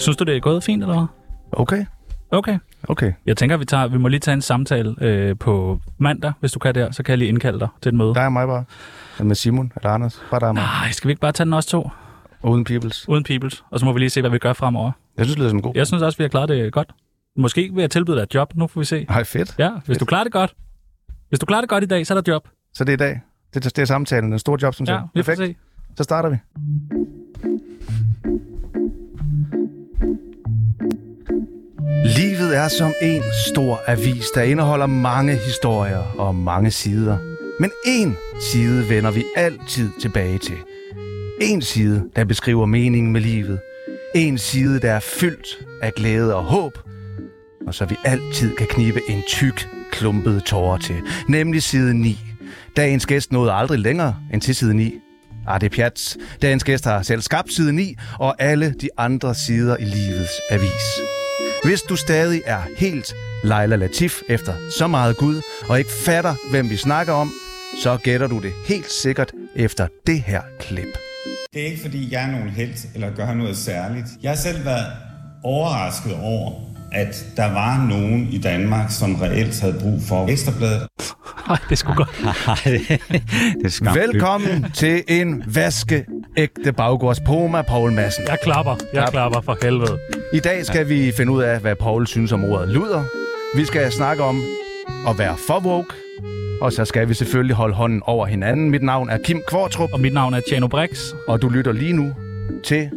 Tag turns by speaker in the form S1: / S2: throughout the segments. S1: Synes du, det er gået fint, eller hvad?
S2: Okay,
S1: Okay.
S2: okay.
S1: Jeg tænker, vi, tager, vi må lige tage en samtale øh, på mandag, hvis du kan der. Så kan jeg lige indkalde dig til et møde.
S2: Der er mig bare. Med Simon eller Anders. Bare der er mig.
S1: Nej, skal vi ikke bare tage den også to?
S2: Uden peoples.
S1: Uden peoples. Og så må vi lige se, hvad vi gør fremover.
S2: Jeg synes, det lyder som en god.
S1: Jeg synes også, vi har klaret det godt. Måske vil jeg tilbyde dig et job. Nu får vi se.
S2: Ej, fedt.
S1: Ja, hvis du klarer det godt. Hvis du klarer det godt i dag, så er der job.
S2: Så det er i dag. Det er, det er samtalen. Den store job, som
S1: Ja,
S2: sagt.
S1: vi får se.
S2: Så starter vi. Livet er som en stor avis, der indeholder mange historier og mange sider. Men én side vender vi altid tilbage til. En side, der beskriver meningen med livet. En side, der er fyldt af glæde og håb. Og så vi altid kan knibe en tyk, klumpet tårer til. Nemlig side 9. Dagens gæst nåede aldrig længere end til side 9. Ah, det er pjat. Dagens gæst har selv skabt side 9 og alle de andre sider i livets avis. Hvis du stadig er helt Leila Latif efter så meget Gud, og ikke fatter, hvem vi snakker om, så gætter du det helt sikkert efter det her klip.
S3: Det er ikke fordi, jeg er nogen held eller gør noget særligt. Jeg har selv været overrasket over, at der var nogen i Danmark, som reelt havde brug for ekstrabladet.
S1: Ej, det skulle godt.
S4: Nej, det, det er skam.
S2: Velkommen til en vaskeægte baggårds Poma, Poul Madsen.
S1: Jeg klapper. Jeg
S2: Ja.
S1: klapper for helvede.
S2: I dag skal vi finde ud af, hvad Paul synes om ordet luder. Vi skal snakke om at være for woke. Og så skal vi selvfølgelig holde hånden over hinanden. Mit navn er Kim Kvartrup,
S1: Og mit navn er Tjano Brix.
S2: og du lytter lige nu til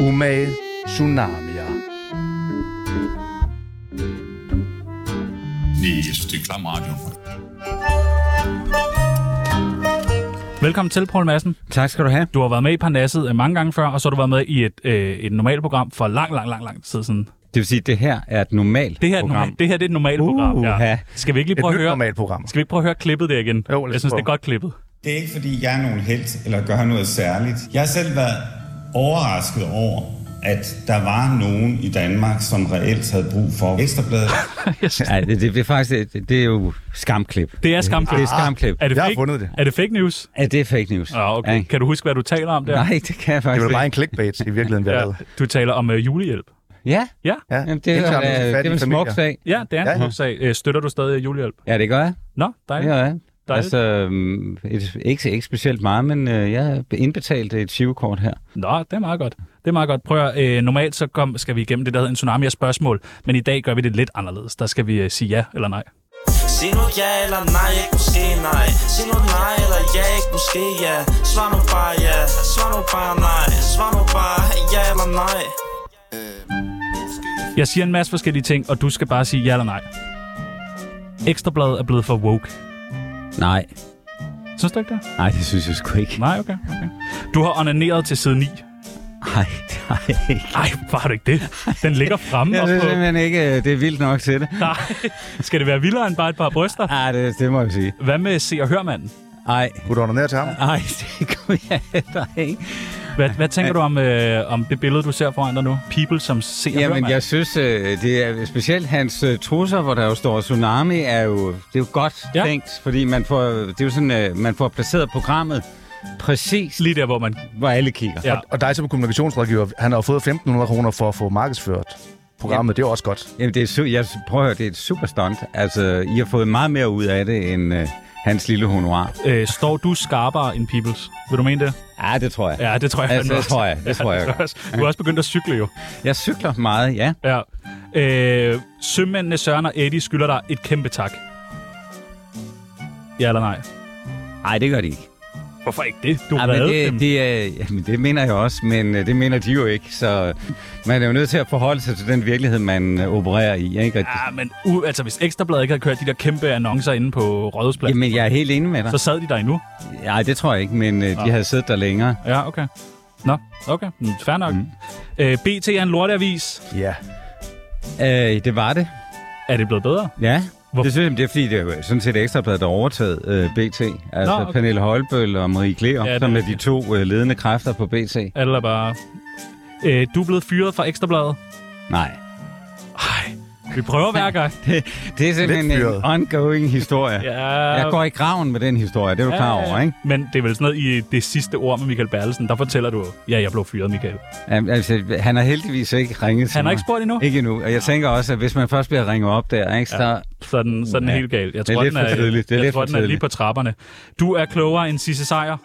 S2: Umage Tsunamier.
S5: Nej, jeg synes, det er klam radio.
S1: Velkommen til, Poul Madsen.
S4: Tak skal du have.
S1: Du har været med i Parnasset øh, mange gange før, og så har du været med i et, øh, et normalt program for lang, lang, lang, lang tid siden.
S4: Det vil sige, at det her er et normalt
S1: Det her, er et
S4: program.
S1: normalt, det her det er et normalt program. Ja.
S4: Uha.
S1: Skal vi ikke lige
S2: Et
S1: prøve at
S2: nyt
S1: høre,
S2: normalt program.
S1: skal vi ikke prøve at høre klippet der igen?
S2: Jo, lad os
S1: jeg synes, det er
S2: prøve.
S1: godt klippet.
S3: Det er ikke fordi, jeg er nogen held eller gør noget særligt. Jeg har selv været overrasket over, at der var nogen i Danmark, som reelt havde brug for ekstrabladet.
S1: Jeg synes,
S4: Ja, det, det, det, er faktisk, det, det er jo skamklip.
S1: Det er skamklip.
S4: Det er skamklip.
S1: er det
S2: Jeg har
S1: fake,
S2: fundet det.
S1: Er det fake news?
S4: Ja, det er fake news.
S1: Ja, okay.
S4: Ikke?
S1: Kan du huske, hvad du taler om der?
S4: Nej, det kan jeg
S2: Det
S4: faktisk
S2: var bare
S4: ikke.
S2: en clickbait i virkeligheden, vi har lavet.
S1: Ja, du taler om øh, julehjælp.
S4: Ja,
S1: Ja,
S2: Ja,
S4: Jamen, det, er,
S2: indsamling til
S4: øh, det er
S2: fattige
S4: en smuk
S2: familier.
S4: sag.
S1: ja det er en
S2: Ja, ja.
S1: god sag. Øh, Støtter du stadig julehjælp?
S4: Ja, det gør jeg.
S1: Nå,
S4: Det
S1: dejligt.
S4: gør jeg.
S1: Dejligt.
S4: Altså, øhm, et, ikke, ikke specielt meget, men øh, jeg indbetalte et 20-kort her.
S1: Nå, det er meget godt. Det er meget godt. Prøv at, øh, normalt så kom, skal vi igennem det, der hedder en tsunami af spørgsmål, men i dag gør vi det lidt anderledes. Der skal vi øh, sige ja eller nej.
S6: Sig nu ja eller nej, ikke måske nej Sig nu nej eller ja, ikke måske ja Svar nu bare ja, svar nu bare nej Svar nu bare ja eller nej
S1: Jeg siger en masse forskellige ting, og du skal bare sige ja eller nej. Ekstrabladet er blevet for woke.
S4: Nej,
S1: Synes du ikke det?
S4: nej, det synes jeg sgu ikke.
S1: Nej, okay. okay. Du har onaneret til side 9.
S4: Nej, nej, ikke.
S1: Nej, hvor har du ikke det? Den ligger fremme.
S4: Jeg
S1: og
S4: synes
S1: på...
S4: simpelthen ikke, øh, det er vildt nok til det.
S1: Nej. Skal det være vildere end bare et par bryster?
S4: Ej, det, det må jeg sige.
S1: Hvad med se og hørmanden?
S4: Ej,
S2: Kunne du ordne til ham?
S4: ej, det kunne jeg heller ikke.
S1: Hvad, hvad tænker du om, øh, om det billede, du ser foran dig nu? People som ser og
S4: Jamen,
S1: hørmanden.
S4: jeg synes, øh, det er specielt hans øh, trusser, hvor der jo står tsunami, er jo, det er jo godt
S1: Ja.
S4: ja. tænkt, fordi man får, det er jo sådan, øh, man får placeret programmet præcis,
S1: Lige der, hvor man...
S4: hvor alle kigger.
S1: Ja.
S2: Og dig som kommunikationsrådgiver, han har jo fået 1.500 kroner for at få markedsført programmet. Det er jo også godt.
S4: Jamen, det er, su- jeg prøver at høre, det er et super stunt. Altså, I har fået meget mere ud af det, end øh, hans lille honorar.
S1: Øh, står du skarpere end Peoples? Vil du mene det?
S4: Ja, det tror jeg.
S1: Ja, det tror jeg
S4: Ja,
S1: fandme
S4: Altså, det
S1: også.
S4: tror jeg. Det tror jeg
S1: tror også. Du har også begyndt at cykle jo.
S4: Jeg cykler meget, ja.
S1: Ja. Øh, sømændene Søren og Eddie skylder dig et kæmpe tak. Ja eller nej?
S4: Nej, det gør de ikke.
S1: Hvorfor ikke det? Du har
S4: Ej, men
S1: reddet dem.
S4: det, det, er, jamen, det mener jeg også, men øh, det mener de jo ikke. Så man er jo nødt til at forholde sig til den virkelighed, man øh, opererer i. Ikke? Og,
S1: Ja, men u- altså, hvis Ekstrabladet ikke havde kørt de der kæmpe annoncer inde på Rådhuspladsen,
S4: jamen, jeg er helt enig med dig.
S1: så Ah. sad de der endnu.
S4: Nej, det tror jeg ikke, men øh, de havde siddet der længere.
S1: Ja, okay. Nå, okay. Mm, Fair nok. Mm. Øh, BT er en lorteavis.
S2: Ja.
S4: Øh, det var det.
S1: Er det blevet bedre?
S4: Ja.
S1: Hvor-
S4: Hvor? Det synes jeg, det er fordi, det er jo sådan set ekstrabladet, der har overtaget øh, BT. Altså
S1: Nå,
S4: Nå,
S1: okay.
S4: okay. Pernille Holbøl og Marie Gleur,
S1: Ja,
S4: ja,
S1: det
S4: som
S1: er
S4: er de
S1: rigtigt.
S4: to øh, ledende kræfter på BT.
S1: Eller bare... Øh, du er blevet fyret fra Ekstrabladet.
S4: Nej.
S1: Ej. Vi prøver hver gang.
S4: Det er simpelthen
S2: Lidt
S4: en
S2: fyret.
S4: ongoing historie. ja. Jeg går i graven med den historie, det er du klar over, ikke?
S1: Men det er vel sådan noget i det sidste ord med Michael Berlesen, der fortæller du, ja, jeg blev fyret, Michael.
S4: Jamen, Altså, han har heldigvis ikke ringet til
S1: Han har
S4: mig.
S1: ikke spurgt endnu.
S4: Ikke endnu. Og jeg tænker også, at hvis man først bliver ringet op der, ikke, så... Ja.
S1: Sådan, sådan
S4: Ja.
S1: helt galt. Jeg
S4: Det er
S1: tror,
S4: lidt
S1: den er,
S4: for tidligt. Det er
S1: jeg
S4: lidt
S1: tror,
S4: for
S1: den er lige
S4: tidligt.
S1: på trapperne. Du er klogere end Sisse Sejr.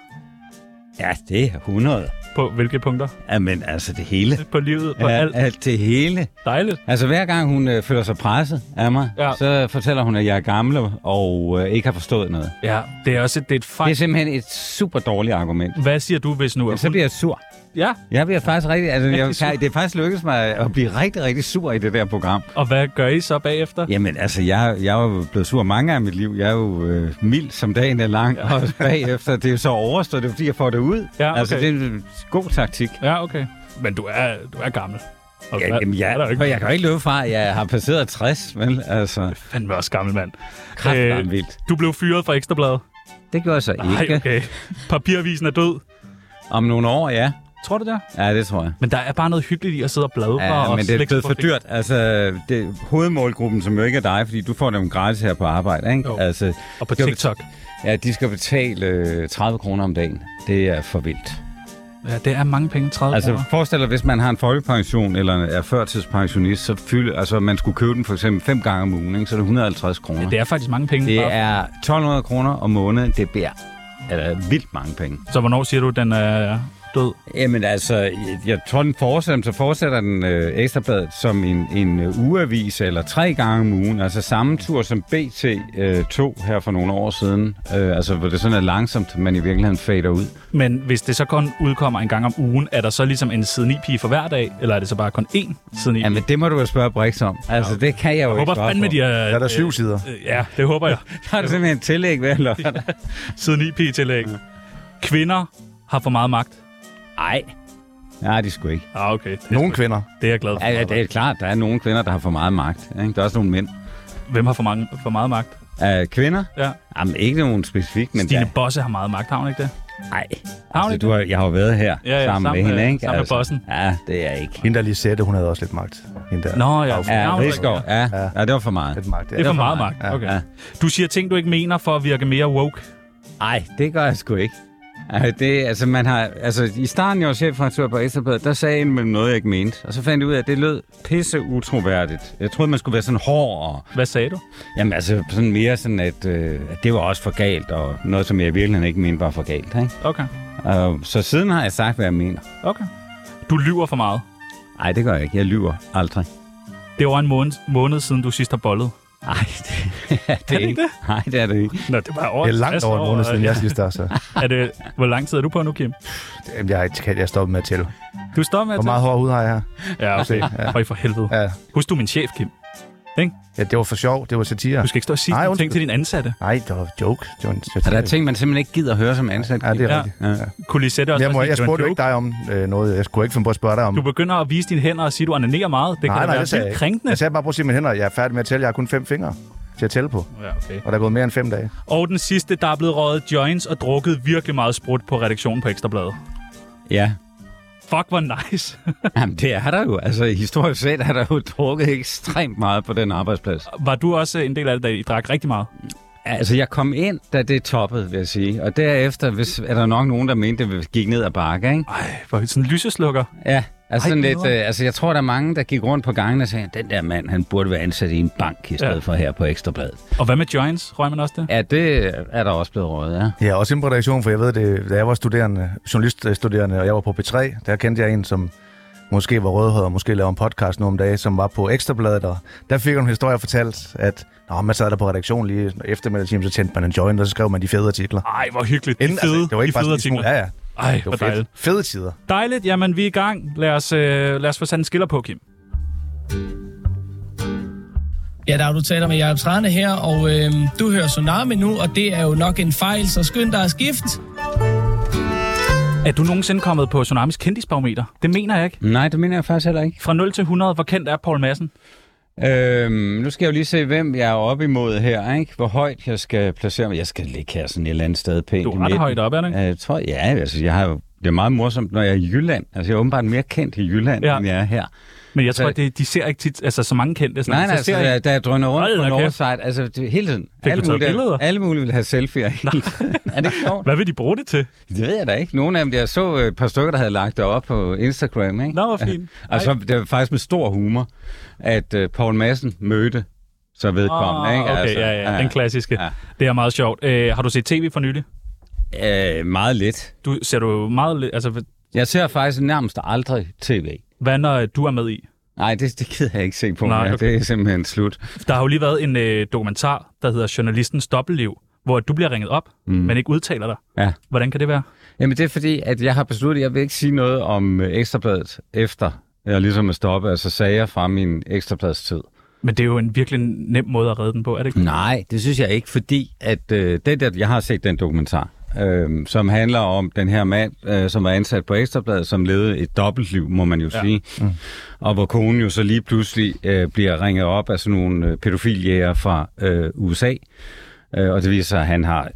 S4: ja, det er 100.
S1: På hvilke punkter?
S4: Jamen, altså det hele.
S1: På livet, på
S4: Ja,
S1: alt.
S4: alt det hele.
S1: Dejligt.
S4: Altså hver gang hun øh, føler sig presset af mig,
S1: Ja.
S4: ja. så fortæller hun, at jeg er gammel og øh, ikke har forstået noget.
S1: Ja, det er også et, det er et
S4: Det er
S1: fejl.
S4: simpelthen et super dårligt argument.
S1: Hvad siger du, hvis nu...
S4: Men så
S1: Hun...
S4: bliver jeg sur.
S1: Ja,
S4: Jeg bliver faktisk rigtig... Altså,
S1: Rigtig
S4: jeg,
S1: sur.
S4: kan, det er faktisk lykkedes mig at blive rigtig, rigtig sur i det der program.
S1: og hvad gør I så bagefter?
S4: Jamen, altså, jeg, jeg er jo blevet sur mange gange i mit liv. Jeg er jo øh, mild, som dagen er lang, ja. og bagefter, det er jo så overstået, det er fordi, jeg får det ud.
S1: Ja, okay.
S4: Altså, det er en god taktik.
S1: Ja, okay. Men du er, du er gammel. Og
S4: Ja,
S1: hvad-
S4: jamen,
S1: er der jo
S4: jeg,
S1: ikke. Øh,
S4: jeg kan jo ikke løbe fra, at jeg har passeret 60, vel? Altså,
S1: Fandme også gammel, mand. Øh,
S4: kraftvarmt vildt.
S1: du blev fyret fra Ekstrabladet.
S4: Det gjorde jeg så
S1: Nej,
S4: ikke.
S1: okay. Papiravisen er død.
S4: Om nogle år, ja.
S1: Tror du det?
S4: Ja, det tror jeg.
S1: Men der er bare noget hyggeligt i at sidde og bladre
S4: Ja,
S1: og
S4: men det er
S1: slikke
S4: blevet
S1: på
S4: for
S1: fingre.
S4: dyrt. Altså, det, hovedmålgruppen, som jo ikke er dig, fordi du får dem gratis her på arbejde, ikke?
S1: Jo.
S4: Altså,
S1: Og på
S4: skal vi-
S1: TikTok.
S4: ja, de skal betale øh, 30 kroner om dagen. Det er for vildt.
S1: Ja, det er mange penge, 30 altså,
S4: Altså
S1: kroner.
S4: forestil dig, hvis man har en folkepension eller er førtidspensionist, så fylde, altså man skulle købe den for eksempel fem gange om ugen, ikke? så er det 150 kroner.
S1: Det er faktisk mange penge.
S4: det
S1: bare-
S4: er 1200 kroner om måneden. Det bliver eller vildt mange penge.
S1: Så hvornår siger du, den er død?
S4: Jamen altså, jeg, jeg tror, den fortsætter, så fortsætter den øh, ekstrabladet som en, en øh, ugeavis eller tre gange om ugen. Altså samme tur som BT øh, tog her for nogle år siden. Øh, altså hvor det sådan er langsomt, man i virkeligheden fader ud.
S1: Men hvis det så kun udkommer en gang om ugen, er der så ligesom en siden i pige for hver dag, eller er det så bare kun én siden i? Jeg
S4: Jamen det må du jo spørge Brix om. Altså det kan jeg jo ikke
S1: håber
S4: svare
S1: fandme,
S4: på.
S1: de er...
S2: Der er der syv sider.
S1: Øh, Ja, det håber jeg.
S4: Der er det simpelthen et tillæg ved at lørdag.
S1: Siden i pige tillæg. Kvinder har for meget magt.
S4: Nej. Nej, de skulle ikke.
S1: Ah, okay. Det er,
S2: Nogle
S1: sgu-
S2: kvinder.
S1: Det er jeg glad for.
S4: Ja, ja, det er klart, der er nogle kvinder, der har for meget magt. Ikke? Der er også nogle mænd.
S1: Hvem har for, mange, for meget magt?
S4: Uh, kvinder?
S1: Ja.
S4: Jamen, ikke nogen specifik, men...
S1: Men Stine
S4: der-
S1: Bosse har meget magt, har hun ikke det?
S4: Nej.
S1: Har hun
S4: Altså,
S1: ikke
S4: du har, jeg har jo været her
S1: Ja, ja,
S4: sammen,
S1: sammen
S4: med hende,
S1: med-
S4: ikke?
S1: sammen med
S4: altså,
S1: bossen.
S4: Ja, det er jeg ikke.
S2: Hende der lige sætte, hun havde også lidt magt. Hende der.
S1: Nå, ja.
S2: Havfru.
S1: Hun har
S4: Ja,
S1: jo
S4: Rigsgaard.
S1: ikke-
S4: Ja.
S2: Ja.
S4: ja, det var for meget.
S2: Lidt magt. Ja.
S1: Det er for meget magt.
S2: Ja.
S1: Okay.
S4: Ja.
S1: Du siger ting, du ikke mener, for at virke mere woke.
S4: Nej, det gør jeg sgu ikke. Altså, det, altså, man har, altså, I starten, jeg var chefredaktør på Ekstrabladet, der sagde jeg indimellem noget, jeg ikke mente. Og så fandt jeg ud af, at det lød pisse utroværdigt. Jeg troede, man skulle være sådan hård og
S1: Hvad sagde du?
S4: Jamen altså sådan mere sådan, at, øh, at det var også for galt, og noget, som jeg virkelig ikke mente var for galt. Ikke?
S1: Okay.
S4: Og, så siden har jeg sagt, hvad jeg mener.
S1: Okay. Du lyver for meget.
S4: Nej, det gør jeg ikke. Jeg lyver aldrig.
S1: Det var en måned, måned siden, du sidst har bollet.
S4: Nej, det, er det
S1: ikke
S4: ikke.
S1: det?
S4: Nej, det er det ikke.
S1: Nå, det var over
S2: Det er langt
S1: 60
S2: over en måned siden,
S1: og-
S2: jeg sidst der, så.
S1: Er det, hvor lang tid er du på nu, Kim?
S2: Jamen, Jeg har ikke kan jeg stoppe med at tælle.
S1: Du står med at
S2: Hvor meget hård hud har jeg her?
S1: tælle. Ja, okay.
S2: Ja.
S1: Høj for helvede.
S2: Ja.
S1: Husk, du er min chef, Kim.
S2: ja, det var for sjov. Det var satire.
S1: Du skal ikke stå og sige
S2: Nej,
S1: Nej, ting
S2: undskyld.
S1: til din ansatte.
S2: Nej, det var joke. Det var en
S4: Og
S2: satire.
S4: der er ting, man simpelthen ikke gider at høre som ansat.
S2: Ja, det er
S1: Ja.
S2: rigtigt.
S4: Ja.
S1: Kunne Lisette også
S2: Jeg, må,
S1: være
S2: jeg
S1: sådan,
S2: spurgte jo
S1: Joan
S2: ikke dig om øh, noget. Jeg skulle ikke finde på at spørge dig om.
S1: Du begynder at vise dine hænder og sige, at du onanerer meget. Det kan da
S2: nej, nej,
S1: være
S2: det sagde jeg
S1: vildt
S2: ikke.
S1: krænkende.
S2: Jeg sagde bare, prøv at se mine hænder. Jeg er færdig med at tælle. Jeg har kun fem fingre til at tælle på.
S1: Ja, okay.
S2: Og der er gået mere end fem dage.
S1: Og den sidste, der er blevet røget joints og drukket virkelig meget sprut på redaktionen på Ekstrabladet.
S4: ja.
S1: Fuck, hvor nice.
S4: Jamen, det er der jo. Altså, historisk set er der jo drukket ekstremt meget på den arbejdsplads.
S1: Var du også en del af det, da I drak rigtig meget?
S4: Altså, jeg kom ind, da det toppede, vil jeg sige. Og derefter hvis, er der nok nogen, der mente, at det gik ned ad bakke, ikke?
S1: Ej, hvor sådan en lyseslukker.
S4: Ja, altså
S1: Ej,
S4: sådan lidt,
S1: bedre.
S4: øh, altså jeg tror, der er mange, der gik rundt på gangen og sagde, den der mand, han burde være ansat i en bank i stedet
S1: Ja.
S4: ja. for her på Ekstrabladet.
S1: Og hvad med joints? Røg man også det?
S4: Ja, det er der også blevet røget, ja.
S2: Ja, også inden på redaktion, for jeg ved det, da jeg var studerende, journaliststuderende, og jeg var på P3, der kendte jeg en, som måske var rødhåret og måske laver en podcast nu om dagen, som var på Ekstrabladet, og der fik hun en historie fortalt, at Nå, man sad der på redaktion lige eftermiddagstimen, så tændte man en joint, og så skrev man de fede artikler. Altså,
S1: Ej, hvor hyggeligt. De fede,
S2: det var ikke
S1: de fede
S2: bare sådan en
S1: artikler.
S2: smule- Ja, ja.
S1: Ej,
S2: Det
S1: hvor
S2: var fedt.
S1: dejligt.
S2: Fede tider.
S1: Dejligt. Jamen, vi er i gang. Lad os, øh, lad os få sat en skiller på, Kim.
S5: Ja, der er du taler med Jacob Trane her, og øh, du hører Tsunami nu, og det er jo nok en fejl, så skynd dig at skifte.
S1: Er du nogensinde kommet på Tsunamis kendisbarometer? Det mener jeg ikke.
S4: Nej, det mener jeg faktisk heller ikke.
S1: Fra 0 til 100, hvor kendt er Paul Madsen?
S4: Øhm, nu skal jeg jo lige se, hvem jeg er oppe imod her, ikke? Hvor højt jeg skal placere mig. Jeg skal ligge her sådan et eller andet sted pænt
S1: Du
S4: i
S1: er ret
S4: midten.
S1: højt op, er det ikke?
S4: Øh, jeg tror, ja, altså jeg har jo, det er meget morsomt, når jeg er i Jylland. Altså jeg er åbenbart mere kendt i Jylland,
S1: Ja.
S4: ja. end jeg er her.
S1: Men jeg tror,
S2: Øh.
S4: Så-
S1: at det, de ser ikke tit, altså så mange kendte. Sådan,
S4: Nej, nej,
S1: så
S4: altså,
S1: ser jeg
S4: da,
S1: ikke.
S4: da jeg drønner rundt
S1: Hold
S4: på
S1: da kæft.
S4: Northside, altså det, hele tiden.
S1: du
S4: Alle
S1: taget billeder?
S4: mulige, alle mulige vil have selfie'er. er det ikke sjovt?
S1: Hvad vil de bruge det til?
S4: Det ved jeg da ikke. Nogle af dem, jeg så øh, et par stykker, der havde lagt det op på Instagram, ikke?
S1: Nå, hvor fint.
S4: Og så det var faktisk med stor humor, at øh, Paul Madsen mødte så vedkommende,
S1: Ah,
S4: ikke? Altså,
S1: Okay,
S2: Altså,
S1: ja, ja, den klassiske.
S4: Ja.
S1: Det er meget sjovt. Øh, har du set tv for nylig?
S4: Øh, meget lidt.
S1: Du ser du meget... lidt- Altså,
S4: Jeg ser faktisk nærmest aldrig tv.
S1: hvad når øh, du er med i?
S4: Nej, det, det gider jeg ikke se på.
S1: Nej,
S4: Nej,
S1: okay.
S4: okay. Det er simpelthen slut.
S1: Der har jo lige været en øh, dokumentar, der hedder Journalistens Dobbeltliv, hvor du bliver ringet op, mm. men ikke udtaler dig.
S4: Ja.
S1: Hvordan kan det være?
S4: Jamen, det er fordi, at jeg har besluttet, at jeg vil ikke sige noget om øh, Ekstrabladet efter jeg ligesom er stoppet, altså sager fra min ekstrabladstid.
S1: Men det er jo en virkelig nem måde at redde den på, er det ikke?
S4: Nej, det synes jeg ikke, fordi at øh, det der, jeg har set den dokumentar, øh, som handler om den her mand, øh, som var ansat på Ekstrabladet, som levede et dobbeltliv, må man jo ja. sige. Mm. Og hvor konen jo så lige pludselig øh, bliver ringet op af sådan nogle øh, pædofiljæger fra øh, USA. Øh, og det viser sig, at han har et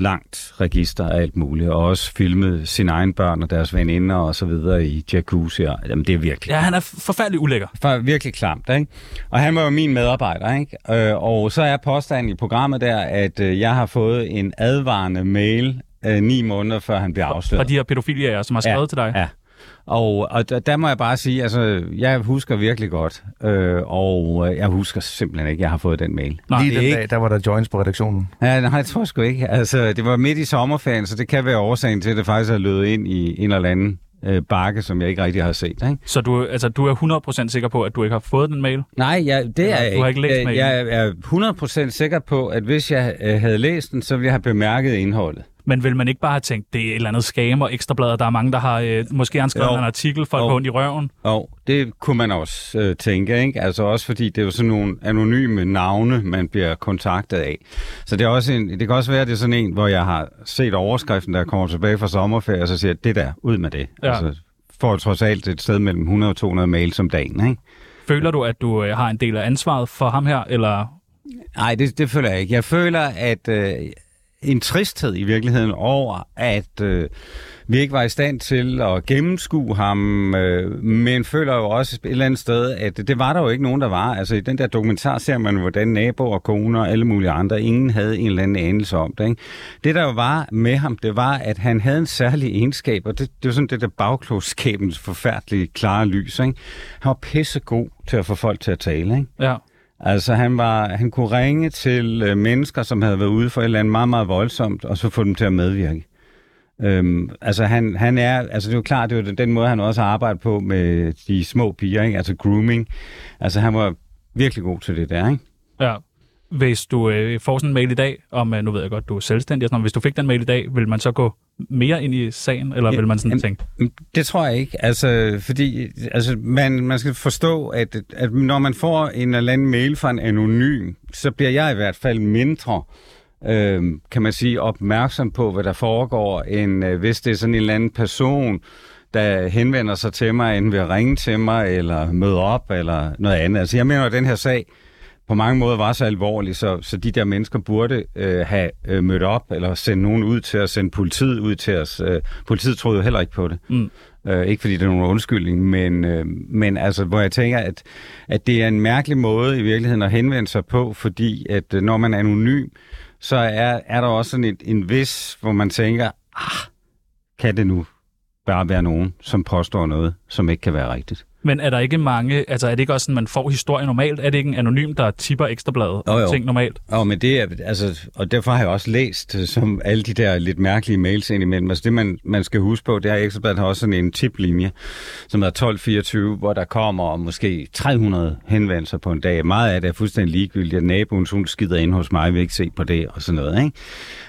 S4: langt register af alt muligt, og også filmet sine egne børn og deres veninder og så videre i jacuzzier. Jamen, det er virkelig
S1: Ja, han er forfærdelig ulækker.
S4: for virkelig klamt, ikke? Og han var jo min medarbejder, ikke? Øh, og så er påstanden i programmet der, at øh, jeg har fået en advarende mail øh, ni måneder før han bliver afsløret.
S1: Fra de her pædofilier, som har skrevet til dig.
S4: Ja. Og, og der, der må jeg bare sige, altså, jeg husker virkelig godt, øh, og øh, jeg husker simpelthen ikke, at jeg har fået den mail.
S1: Nej,
S2: Lige
S1: det er
S2: den
S1: ikke-
S2: dag, der var der joints på redaktionen.
S4: Ja, nej, jeg tror sgu ikke. Altså, det var midt i sommerferien, så det kan være årsagen til, at det faktisk har løbet ind i en eller anden øh, bakke, som jeg ikke rigtig har set, ikke?
S1: Så du, altså, du er 100% sikker på, at du ikke har fået den mail?
S4: Nej, jeg, det er jeg
S1: du har ikke læst
S4: Jeg-
S1: mailen?
S4: Jeg er 100% sikker på, at hvis jeg øh, havde læst den, så ville jeg have bemærket indholdet.
S1: Men vil man ikke bare have tænkt, det er et eller andet skam og ekstrablader? Der er mange, der har øh, måske har han skrevet
S4: Jo.
S1: en artikel, folk
S4: Jo.
S1: har ondt i røven.
S4: Og det kunne man også øh, tænke, ikke? Altså også fordi det er jo sådan nogle anonyme navne, man bliver kontaktet af. Så det, er også en, det kan også være, at det er sådan en, hvor jeg har set overskriften, der kommer tilbage fra sommerferie, og så siger jeg, det der, ud med det.
S1: Ja.
S4: Altså, får trods alt et sted mellem 100 og 200 mails som dagen, ikke?
S1: Føler du, at du øh, har en del af ansvaret for ham her? Eller
S4: Nej, det, det føler jeg ikke. Jeg føler, at øh, en tristhed i virkeligheden over, at øh, vi ikke var i stand til at gennemskue ham, øh, men føler jo også et eller andet sted, at det var der jo ikke nogen, der var. Altså i den der dokumentar ser man, hvordan naboer, koner og alle mulige andre, ingen havde en eller anden anelse om det. Ikke? Det der jo var med ham, det var, at han havde en særlig egenskab, og det, det var sådan det der bagklogskabens forfærdelige klare lys. Ikke? Han var pissegod til at få folk til at tale, ikke?
S1: ja.
S4: Altså, han, var, han kunne ringe til øh, mennesker, som havde været ude for et eller andet meget, meget voldsomt, og så få dem til at medvirke. Øhm, altså, han, han er, altså, det er jo klart, det er jo den, den måde, han også har arbejdet på med de små piger, ikke? altså grooming. Altså, han var virkelig god til det der, ikke?
S1: ja. Hvis du øh, får sådan en mail i dag, om øh, nu ved jeg godt, du er selvstændig, og sådan, noget, hvis du fik den mail i dag, vil man så gå mere ind i sagen, eller ja, vil man sådan
S4: jamen-
S1: tænke,
S4: Mm, Det tror jeg ikke, altså, fordi altså, man, man skal forstå, at, at når man får en eller anden mail fra en anonym, så bliver jeg i hvert fald mindre, øh, kan man sige, opmærksom på, hvad der foregår, end øh, hvis det er sådan en eller anden person, der henvender sig til mig, enten ved at ringe til mig, eller møde op, eller noget andet. Altså, jeg mener, at den her sag på mange måder var så alvorlig, så, så de der mennesker burde øh, have øh, mødt op, eller sendt nogen ud til os, sendt politiet ud til os. Øh, politiet troede jo heller ikke på det.
S1: Mm.
S4: Øh, ikke fordi det er nogen undskyldning, men, øh, men altså, hvor jeg tænker, at, at det er en mærkelig måde i virkeligheden at henvende sig på, fordi at øh, når man er anonym, så er, er der også sådan en, en vis, hvor man tænker, ah, kan det nu bare være nogen, som påstår noget, som ikke kan være rigtigt?
S1: Men er der ikke mange, altså er det ikke også sådan, man får historie normalt? Er det ikke en anonym, der tipper ekstrabladet
S4: Jo,
S1: om
S4: jo.
S1: ting normalt?
S4: Og, men det er, altså, og derfor har jeg også læst øh, som alle de der lidt mærkelige mails indimellem. Altså det, man, man skal huske på, det er, at Ekstrabladet har også sådan en tiplinje, som hedder 1224, hvor der kommer måske 300 henvendelser på en dag. Meget af det er fuldstændig ligegyldigt, at naboen hun skider ind hos mig, vil ikke se på det og sådan noget. Ikke?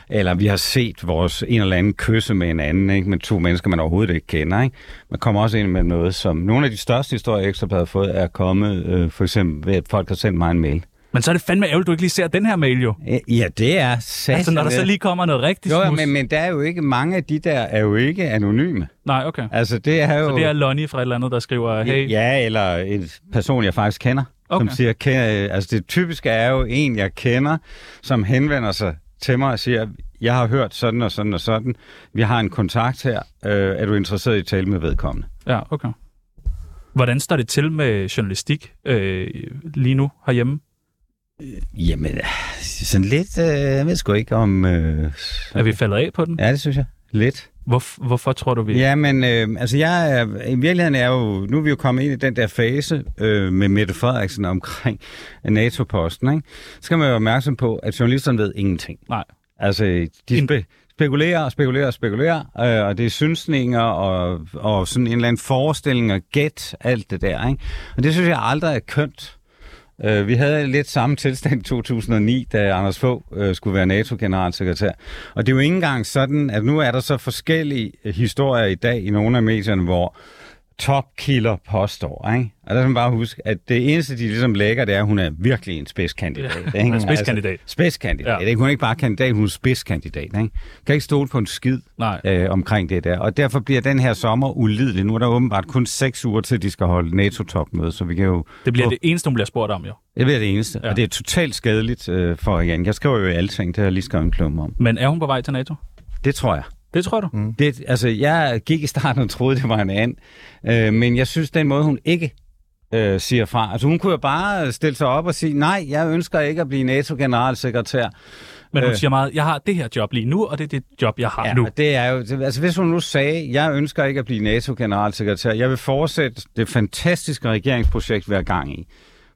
S4: Eller vi har set vores en eller anden kysse med en anden, ikke? med to mennesker, man overhovedet ikke kender. Ikke? Man kommer også ind med noget, som nogle af de største historier, Ekstrabladet har fået, er kommet øh, for eksempel ved, at folk har sendt mig en mail.
S1: Men så er det fandme ærgerligt, du ikke lige ser den her mail jo.
S4: Ja, det er sat.
S1: Altså når der så lige kommer noget rigtigt
S4: Jo, jo,
S1: snus.
S4: men, men der er jo ikke, mange af de der er jo ikke anonyme.
S1: Nej, okay.
S4: Altså, det er jo...
S1: Så det er Lonnie fra et eller andet, der skriver, hey,
S4: Ja, eller en person, jeg faktisk kender, okay.
S1: Okay.
S4: som siger, kender, altså det typiske er jo en, jeg kender, som henvender sig til mig og siger, jeg har hørt sådan og sådan og sådan, vi har en kontakt her, øh, er du interesseret i at tale med vedkommende?
S1: ja, okay. Hvordan står det til med journalistik øh, lige nu herhjemme?
S4: Jamen, øh, sådan lidt, øh, jeg ved sgu ikke om... Øh,
S1: Er vi faldet af på den?
S4: ja, det synes jeg. Lidt.
S1: Hvor, hvorfor tror du, vi...
S4: Ja, men øh, altså jeg er, i virkeligheden er jo, nu er vi jo kommet ind i den der fase øh, med Mette Frederiksen omkring NATO-posten, ikke? Så skal man jo være opmærksom på, at journalisterne ved ingenting.
S1: Nej.
S4: Altså, de
S1: En-
S4: spe, spekulerer og spekulerer og spekulerer, øh, og det er synsninger og, og sådan en eller anden forestilling og gæt, alt det der, ikke? Og det synes jeg aldrig er kønt. Øh, Vi havde lidt samme tilstand i 2009, da Anders Fogh øh, skulle være NATO-generalsekretær. Og det er jo ikke engang sådan, at nu er der så forskellige historier i dag i nogle af medierne, hvor topkilder påstår, ikke? Og der skal man bare huske, at det eneste, de ligesom lægger, det er, at hun er virkelig en spidskandidat. Altså, Ja,
S1: hun er spidskandidat.
S4: spidskandidat.
S1: Ja.
S4: Ja. Ikke? Hun er ikke bare kandidat, hun er spidskandidat. Ikke? Hun Kan ikke stole på en skid
S1: Nej.
S4: øh, omkring det der. Og derfor bliver den her sommer ulidelig. Nu er der åbenbart kun seks uger til, de skal holde NATO-topmøde, så vi kan jo
S1: Det bliver det eneste, hun bliver spurgt om, jo.
S4: det bliver det eneste,
S1: Ja.
S4: ja. og det er totalt skadeligt øh, for Jan. Jeg skriver jo i alting, det har jeg lige skrevet en klumme om.
S1: Men er hun på vej til NATO?
S4: Det tror jeg.
S1: Det tror du? Mm.
S4: Det, altså, jeg gik i starten og troede, det var en and, øh, men jeg synes, den måde, hun ikke øh, siger fra. Altså, hun kunne jo bare stille sig op og sige, nej, jeg ønsker ikke at blive NATO-generalsekretær.
S1: Men hun
S4: Øh.
S1: siger meget, jeg har det her job lige nu, og det er det job, jeg har
S4: Ja,
S1: nu.
S4: og det er jo, altså hvis hun nu sagde, jeg ønsker ikke at blive NATO-generalsekretær, jeg vil fortsætte det fantastiske regeringsprojekt, vi har gang i.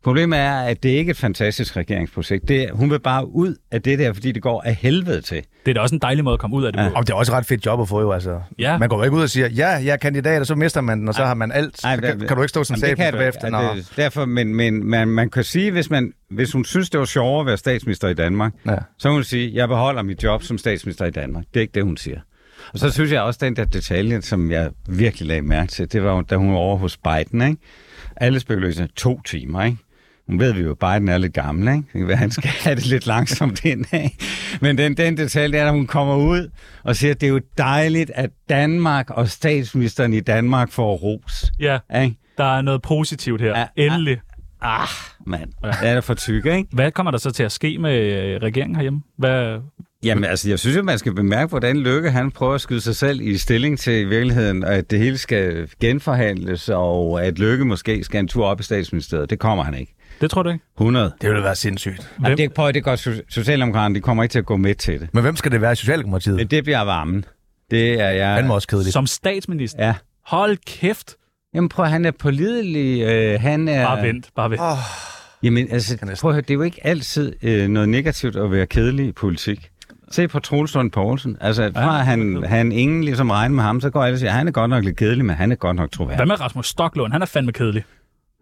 S4: Problemet er, at det ikke er et fantastisk regeringsprojekt. Det er, hun vil bare ud af det der, fordi det går af helvede til.
S1: Det er da også en dejlig måde at komme ud af det. Ja.
S2: Og det er også et ret fedt job at få jo, altså.
S1: Ja.
S2: Man går jo ikke ud og siger, ja, jeg er kandidat, og så mister man den, og så har man alt.
S4: Ej,
S2: Så
S4: hvad-
S2: kan, kan du ikke stå som
S4: Jamen, det kan
S2: statsminister
S4: du
S2: bagefter?
S4: ikke.
S2: Nå.
S4: Det- Derfor, men, men man, man kan sige, hvis, man, hvis hun synes, det var sjovere at være statsminister i Danmark,
S2: Ja.
S4: ja. så vil hun sige, jeg beholder mit job som statsminister i Danmark. Det er ikke det, hun siger. Og så synes jeg også, den der detalje, som jeg virkelig lagde mærke til, det var, jo, da hun var over hos Biden, ikke? Alle spekulerede to timer, ikke? Nu ved vi jo, at Biden er lidt gammel, ikke? Det kan være, han skal have det lidt langsomt ind af. Men den, den detalje er, at hun kommer ud og siger, at det er jo dejligt, at Danmark og statsministeren i Danmark får ros.
S1: ja,
S4: Ikke?
S1: der er noget positivt her. Ja.
S4: Ja.
S1: Endelig.
S4: Ah, mand. Ja. Det er da for tyk, ikke?
S1: Hvad kommer der så til at ske med øh, regeringen herhjemme? Hvad,
S4: Jamen, altså, jeg synes jo, man skal bemærke, hvordan Løkke, han prøver at skyde sig selv i stilling til i virkeligheden, og at det hele skal genforhandles, og at Løkke måske skal en tur op i statsministeriet. Det kommer han ikke.
S1: det tror du ikke?
S4: 100.
S2: Det ville være sindssygt.
S4: Jamen, det, prøv, at- det går so- Socialdemokraterne, de kommer ikke til at gå med til det.
S2: Men hvem skal det være i Socialdemokratiet?
S4: Men det bliver varmen. Det er jeg...
S2: Han var også kedelig.
S1: Som statsminister?
S4: Ja.
S1: Hold kæft.
S4: Jamen prøv, at- han er pålidelig. Øh, han er...
S1: Bare vent, bare vent.
S4: Ah. Jamen altså, prøv at høre, det er jo ikke altid øh, noget negativt at være kedelig i politik. Se på Troels Lund Poulsen. Altså, fra ja, han, han ingen ligesom regner med ham, så går alle og siger, han er godt nok lidt kedelig, men han er godt nok
S1: Hvad
S4: troværdig.
S1: med Rasmus Stocklund? Han er fandme kedelig.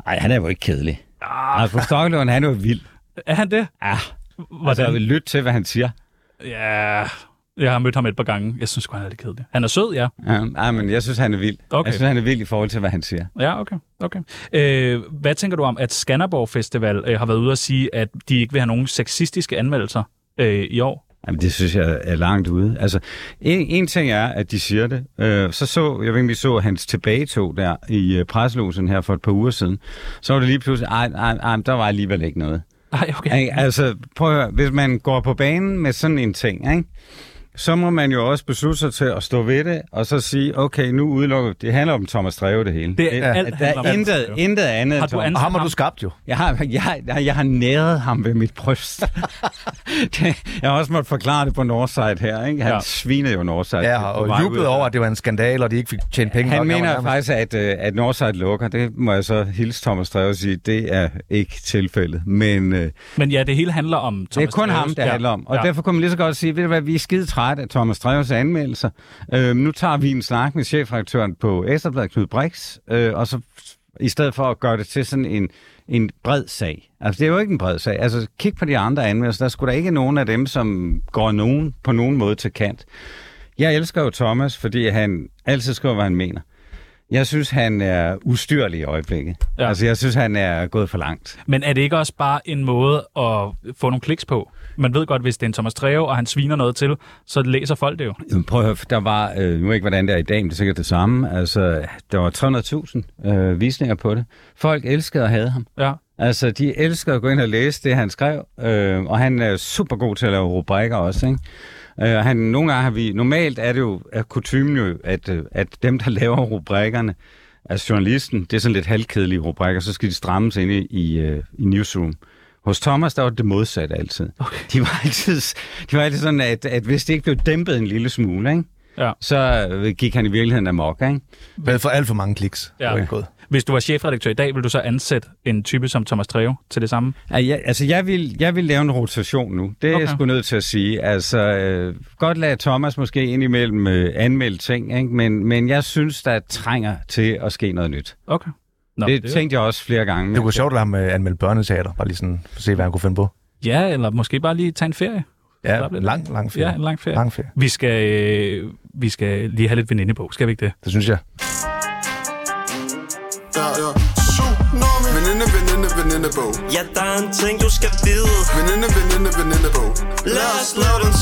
S4: Nej, han er jo ikke kedelig. Ah. Altså, Stocklund, han er jo vild.
S1: Er han det?
S4: Ja, altså, jeg
S1: Hvordan?
S4: vil lytte til, hvad han siger.
S1: Ja, jeg har mødt ham et par gange. Jeg synes sgu, han er lidt kedelig. Han er sød, ja.
S4: Ja, Øhm, ej, men jeg synes, han er vild.
S1: Okay.
S4: Jeg synes, han er vild i forhold til, hvad han siger.
S1: Ja, okay. okay. Øh, hvad tænker du om, at Skanderborg Festival øh, har været ude at sige, at de ikke vil have nogen sexistiske anmeldelser øh, i år?
S4: Jamen, det synes jeg er langt ude. Altså, en, en ting er, at de siger det. Øh, så så, jeg ved ikke, om I så hans tilbagetog der i øh, preslogen her for et par uger siden. Så var det lige pludselig, ej, ej, ej, men der var alligevel ikke noget.
S1: Nej, okay.
S4: Ikke? Altså, prøv at høre, hvis man går på banen med sådan en ting, ikke? så må man jo også beslutte sig til at stå ved det, og så sige, okay, nu udelukker Det handler om Thomas Dreve, det hele.
S1: Det er alt,
S4: der
S1: handler om
S4: er
S1: Thomas
S4: intet,
S1: Dreve.
S4: intet andet.
S1: Har
S4: end
S1: du
S4: Thomas.
S2: Og
S1: ansat
S2: ham har
S1: ham?
S2: du skabt jo.
S4: Jeg har, jeg, jeg, jeg har næret ham ved mit bryst. det, jeg har også måttet forklare det på Northside her. Ikke? Han
S1: Ja.
S4: ja. svinede jo Northside.
S2: Ja,
S4: På vej
S2: og
S4: ud
S2: jublede
S4: af-
S2: over, at det var en skandal, og de ikke fik tjent penge
S4: Han
S2: nok. var
S4: mener
S2: nærmest-
S4: faktisk, at, øh, at Northside lukker. Det må jeg så hilse Thomas Dreve og sige, det er ikke tilfældet. Men øh,
S1: Men ja, det hele handler om Thomas
S4: det er kun
S1: Dreves.
S4: ham, det handler om. Og
S1: ja.
S4: derfor kunne man lige så godt sige, ved du hvad, vi er skide trætte af Thomas Dreves anmeldelser. Øh, nu tager vi en snak med chefredaktøren på Æsterbladet, Knud Brix, øh, og så i stedet for at gøre det til sådan en, en bred sag. Altså, det er jo ikke en bred sag. Altså, kig på de andre anmeldelser. Der skulle der ikke nogen af dem, som går nogen på nogen måde til kant. Jeg elsker jo Thomas, fordi han altid skriver, hvad han mener. Jeg synes, han er ustyrlig i øjeblikket.
S1: Ja.
S4: Ja. Altså, jeg synes, han er gået for langt.
S1: Men er det ikke også bare en måde at få nogle kliks på? Man ved godt, hvis det er en Thomas Treve, og han sviner noget til, så læser folk det jo.
S4: Jamen, Prøv at høre, der var, øh, nu ved jeg ikke hvordan det er i dag, men det er sikkert det samme, altså der var 300.000 øh, visninger på det. Folk elskede at have ham.
S1: Ja.
S4: Altså de elskede at gå ind og læse det, han skrev, øh, og han er super god til at lave rubrikker også, ikke? Øh, han, nogle gange har vi, normalt er det jo, er kutumen jo, at, øh, at dem der laver rubrikkerne, Altså journalisten, det er sådan lidt halvkedelige rubrikker, så skal de strammes inde i, øh, i newsroom. Hos Thomas, der var det modsatte altid. Okay. De, var altid de var altid sådan, at, at hvis det ikke blev dæmpet en lille smule, ikke?
S1: Ja.
S4: så øh, gik han i virkeligheden amok. Ikke?
S2: Hvad for alt for mange kliks.
S1: Ja.
S2: Okay. God.
S1: Hvis du var chefredaktør i dag, ville du så ansætte en type som Thomas Treve til det samme?
S4: Ej, Jeg, altså, jeg vil, jeg vil lave en rotation nu. Det er okay. jeg
S1: Okay.
S4: sgu nødt til at sige. Altså, øh, godt lade Thomas måske indimellem øh, anmelde ting, ikke? Men, men jeg synes, der trænger til at ske noget nyt.
S1: Okay. Nå,
S4: det, det tænkte jeg også flere gange.
S2: Det kunne sjovt at lade ham øh, anmelde børneteater, bare lige sådan, for at se, hvad han kunne finde på.
S1: Ja, eller måske bare lige tage en ferie.
S2: Ja,
S1: Slap lidt.
S2: lang, lang ferie.
S1: Ja, en lang ferie.
S2: Lang ferie.
S1: Vi skal, øh, vi skal lige have lidt veninde på, skal vi ikke det?
S2: Det synes jeg.
S7: Ja, ja. Syv nummer. Veninde, veninde, venindebog.
S6: Ja, der er en ting, du skal vide
S7: Veninde, veninde, venindebog.
S6: Lad os lave den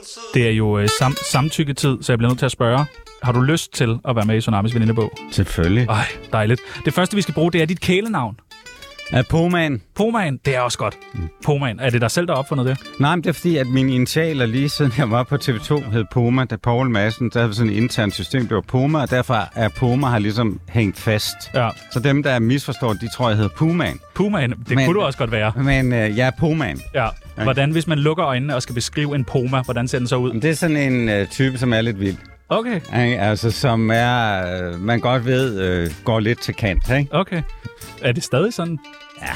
S6: tid
S1: Det er jo øh, sam- samtykketid, så jeg bliver nødt til at spørge. Har du lyst til at være med i Tsunamis venindebog?
S4: Selvfølgelig.
S1: Ej, dejligt. Det første, vi skal bruge, det er dit kælenavn.
S4: Apoman.
S1: Poman, det er også godt. Poman, er det dig selv, der har opfundet det?
S4: Nej, men det er fordi, at mine initialer lige siden jeg var på TV2 hed Poma, da Poul Madsen, der havde vi sådan et internt system, det var Poma, og derfor er Poma har ligesom hængt fast.
S1: Ja.
S4: Så dem, der misforstår, de tror, jeg hedder Puman.
S1: Pumaen, det
S4: Men-
S1: Men... kunne du også godt være.
S4: Men øh, jeg er Poman.
S1: Ja. Hvordan, hvis man lukker øjnene og skal beskrive en poma, hvordan ser den så ud?
S4: Det er sådan en øh, type, som er lidt vild.
S1: Okay,
S4: Ikke? Altså, som er, øh, man godt ved, øh, går lidt til kant, ikke?
S1: okay. Er det stadig sådan? Ja.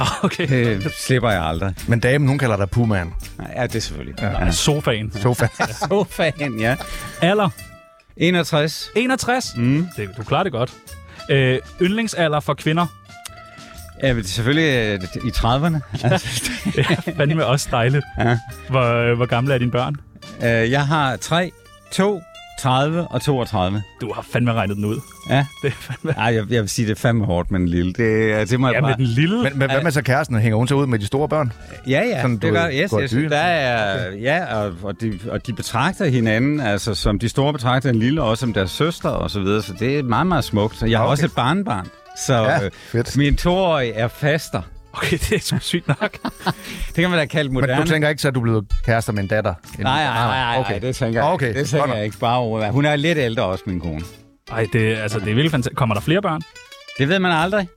S1: Oh, okay.
S4: Det Øh, slipper jeg aldrig.
S2: Men damen, hun kalder dig Puman.
S4: Nej, Ja, det er selvfølgelig. Ja.
S1: Ja. Sofaen.
S2: Sofa.
S4: Sofaen, ja.
S1: Alder?
S4: 61.
S1: 61. Mm. Det, du klarer det godt. Øh, yndlingsalder for kvinder?
S4: Ja, men selvfølgelig øh, i 30'erne. Altså,
S1: Ja, fandme også dejligt.
S4: Ja.
S1: Hvor, øh, hvor gamle er dine børn?
S4: øh, jeg har 3, 2, 30 og 32.
S1: Du har fandme regnet den ud.
S4: Ja.
S1: Det er fandme...
S4: Ej, jeg, jeg vil sige, det er fandme hårdt med en lille. Det, øh, det må jeg
S1: Ja,
S4: bare...
S1: med den lille...
S2: Men, men hvad med så kæresten? Hænger hun så ud med de store børn?
S4: Ja, ja,
S2: Sådan,
S4: sådan,
S2: du
S4: det
S2: ved,
S4: gør yes,
S2: går
S4: yes,
S2: dybt.
S4: der er, ja, og, og, de, og de betragter hinanden, altså som de store betragter en lille, også som deres søster og så videre, så det er meget, meget smukt. Jeg har
S2: Okay.
S4: også et barnbarn, så
S2: Ja,
S4: øh,
S2: fedt.
S4: min toårige er faster.
S1: Okay, det er sgu sygt nok.
S4: Det kan man da kalde
S2: Men
S4: moderne.
S2: du tænker ikke så, at du er blevet kærester med en datter?
S4: Nej, nej, nej, nej,
S2: Okay. Ah,
S4: okay. det tænker jeg,
S2: Okay,
S4: okay. det
S2: godt
S4: tænker
S2: nok.
S4: jeg ikke bare over. Hun er lidt ældre også, min kone.
S1: Ej, det, altså, det er virkelig fantastisk. Kommer der flere børn?
S4: Det ved man aldrig.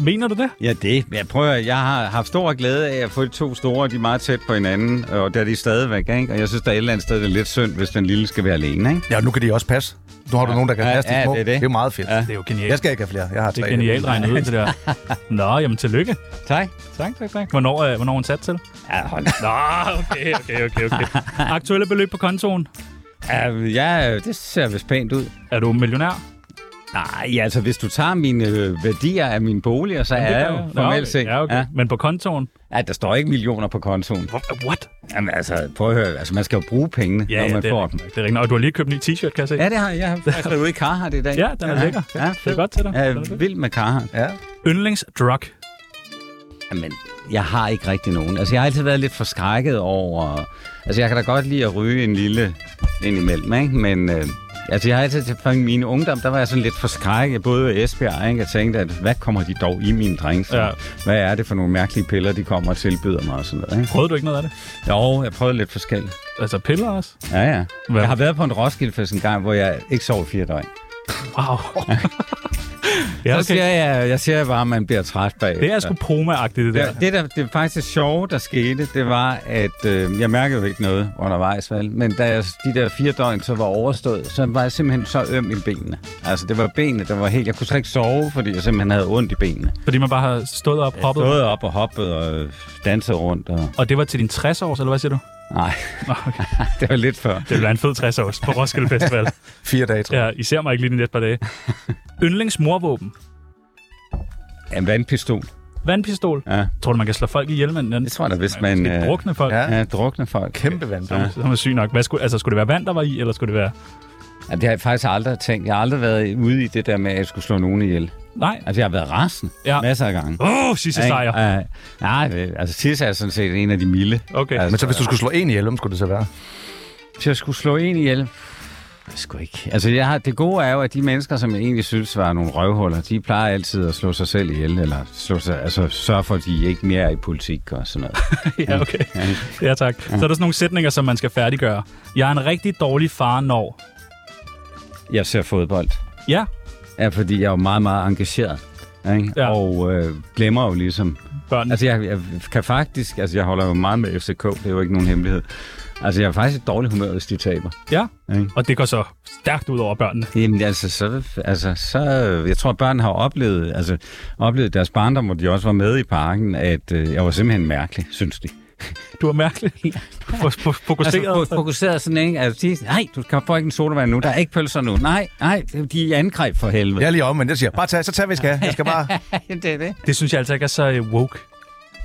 S1: Mener du det?
S4: Ja, det. Jeg prøver, jeg har haft stor glæde af at få de to store, de er meget tæt på hinanden, og der er de stadigvæk, ikke? Og jeg synes, der er et eller andet sted, det er lidt synd, hvis den lille skal være alene, ikke?
S2: Ja, nu kan de også passe. Nu har du nogen, der kan
S4: Ja,
S2: passe de
S4: ja,
S2: små.
S4: det er det.
S2: Det er jo meget fedt.
S4: Ja.
S1: Det er jo genialt.
S2: Jeg skal ikke have flere. Jeg har
S1: Det
S2: tre.
S1: er genialt regnet ud, det der. Nå, jamen tillykke.
S4: Tak.
S1: Tak, tak, tak. Hvornår, øh, hvornår er hun sat til?
S4: Ja, hold
S1: Nå, okay, okay, okay, okay. Aktuelle beløb på kontoen.
S4: Ja, ja, det ser vist pænt ud.
S1: Er du millionær?
S4: Nej, ja, altså hvis du tager mine øh, værdier af mine boliger, så er jeg jo
S1: Nå,
S4: formelt set.
S1: Ja, okay.
S4: ja.
S1: Ja. Men på kontoen?
S4: ja, der står ikke millioner på kontoen.
S1: What?
S4: Jamen altså, prøv at høre, altså man skal jo bruge pengene,
S1: Ja,
S4: når
S1: ja
S4: man
S1: det, er
S4: får dem.
S1: rigtigt nok. det er rigtigt. nok. Og du har lige købt en ny t-shirt, kan jeg se.
S4: Ja, det har jeg. Jeg har faktisk været ude i Carhartt i dag.
S1: Ja, den er lækker.
S4: Ja,
S1: det er godt til dig.
S4: Jeg
S1: Den er
S4: er
S1: fed.
S4: vild med Carhartt.
S2: Ja.
S1: Yndlingsdrug.
S4: Men jeg har ikke rigtig nogen. Altså, jeg har altid været lidt forskrækket over... Altså, jeg kan da godt lide at ryge en lille indimellem, ikke? Men... Øh, altså, jeg har altid... Fra min ungdom, der var jeg sådan lidt forskrækket, både ved Esbjerg, ikke? Jeg tænkte, at hvad kommer de dog i mine drinks?
S1: Ja.
S4: Hvad er det for nogle mærkelige piller, de kommer og tilbyder mig og sådan noget, ikke?
S1: Prøvede du ikke noget af det?
S4: Jo, jeg prøvede lidt forskelligt.
S1: Altså piller også?
S4: Ja, ja.
S1: Hvad?
S4: Jeg har været på en Roskilde-fest en gang, hvor jeg ikke sov i fire døgn.
S1: Wow. ja,
S4: Så siger
S1: okay.
S4: jeg, jeg siger bare, at man bliver træt bag.
S1: Det er sgu poma-agtigt, det der.
S4: Det, det, der, det faktisk sjove, der skete, det var, at øh, jeg mærkede jo ikke noget undervejs, vel? men da jeg, de der fire døgn så var overstået, så var jeg simpelthen så øm i benene. Altså, det var benene, der var helt... Jeg kunne slet ikke sove, fordi jeg simpelthen havde ondt i benene.
S1: Fordi man bare har stået op, hoppet.
S4: Både op og hoppet og øh, danset rundt. Og...
S1: Og det var til din 60-års, eller hvad siger du?
S4: Nej,
S1: Nå, Okay.
S4: det var lidt før.
S1: Det bliver en fed 60-års på Roskilde Festival.
S2: Fire dage, tror jeg.
S1: Ja, I ser mig ikke lige de næste par dage. Yndlingsmorvåben.
S4: En vandpistol.
S1: Vandpistol.
S4: Ja,
S1: Tror du, man kan slå folk ihjel med den?
S4: det tror jeg da, hvis man... øh,
S1: Skal drukne folk?
S2: Ja.
S1: Ja.
S4: Ja, drukne folk.
S2: Kæmpe vand.
S4: Ja.
S1: Så er man syg nok. Hvad skulle, altså, skulle det være vand, der var i, eller skulle det være...
S4: Ja, det har jeg faktisk aldrig tænkt. Jeg har aldrig været ude i det der med, at jeg skulle slå nogen ihjel.
S1: Nej.
S4: Altså, jeg har været rasen
S1: Ja.
S4: ja. masser af gange.
S1: Åh, oh, sidste sejr.
S4: Ikke? Ja, nej, det- altså Tissa er sådan set en af de milde.
S1: Okay.
S4: Altså,
S2: Men så hvis du skulle slå en ihjel, hvem skulle det så være?
S4: hvis jeg skulle slå en ihjel, det sgu ikke. Altså, jeg har, det gode er jo, at de mennesker, som jeg egentlig synes var nogle røvhuller, de plejer altid at slå sig selv ihjel, eller slå sig, altså, sørge for, at de ikke mere er i politik og sådan noget.
S1: Ja, okay. Ja, tak. Så er der sådan nogle sætninger, som man skal færdiggøre. Jeg er en rigtig dårlig far, når...
S4: Jeg ser fodbold.
S1: Ja.
S4: er, fordi jeg er jo meget, meget engageret. Ikke?
S1: Ja.
S4: Ja. Og øh, glemmer jo ligesom...
S1: Børn.
S4: Altså, jeg, jeg kan faktisk... Altså, jeg holder jo meget med FCK. Det er jo ikke nogen hemmelighed. Altså, jeg er faktisk i dårligt humør, hvis de taber.
S1: Ja,
S4: Ikke?
S1: og det går så stærkt ud over børnene.
S4: Jamen, altså, så, altså, så, jeg tror, at børn har oplevet, altså, oplevet i deres barndom, hvor de også var med i parken, at øh, jeg var simpelthen mærkelig, synes de.
S1: Du er mærkelig. Fo- fo- Fokuseret.
S4: Altså, fo- fokuseret sådan, ikke? Altså, de, nej, du kan få ikke en sodavand nu, der er ikke pølser nu. Nej, nej, de er i angreb for helvede.
S2: Jeg er lige om, men jeg siger, bare tag, så tag, hvad I skal. Jeg skal bare...
S4: det er det.
S1: Det synes jeg altså ikke er så øh, woke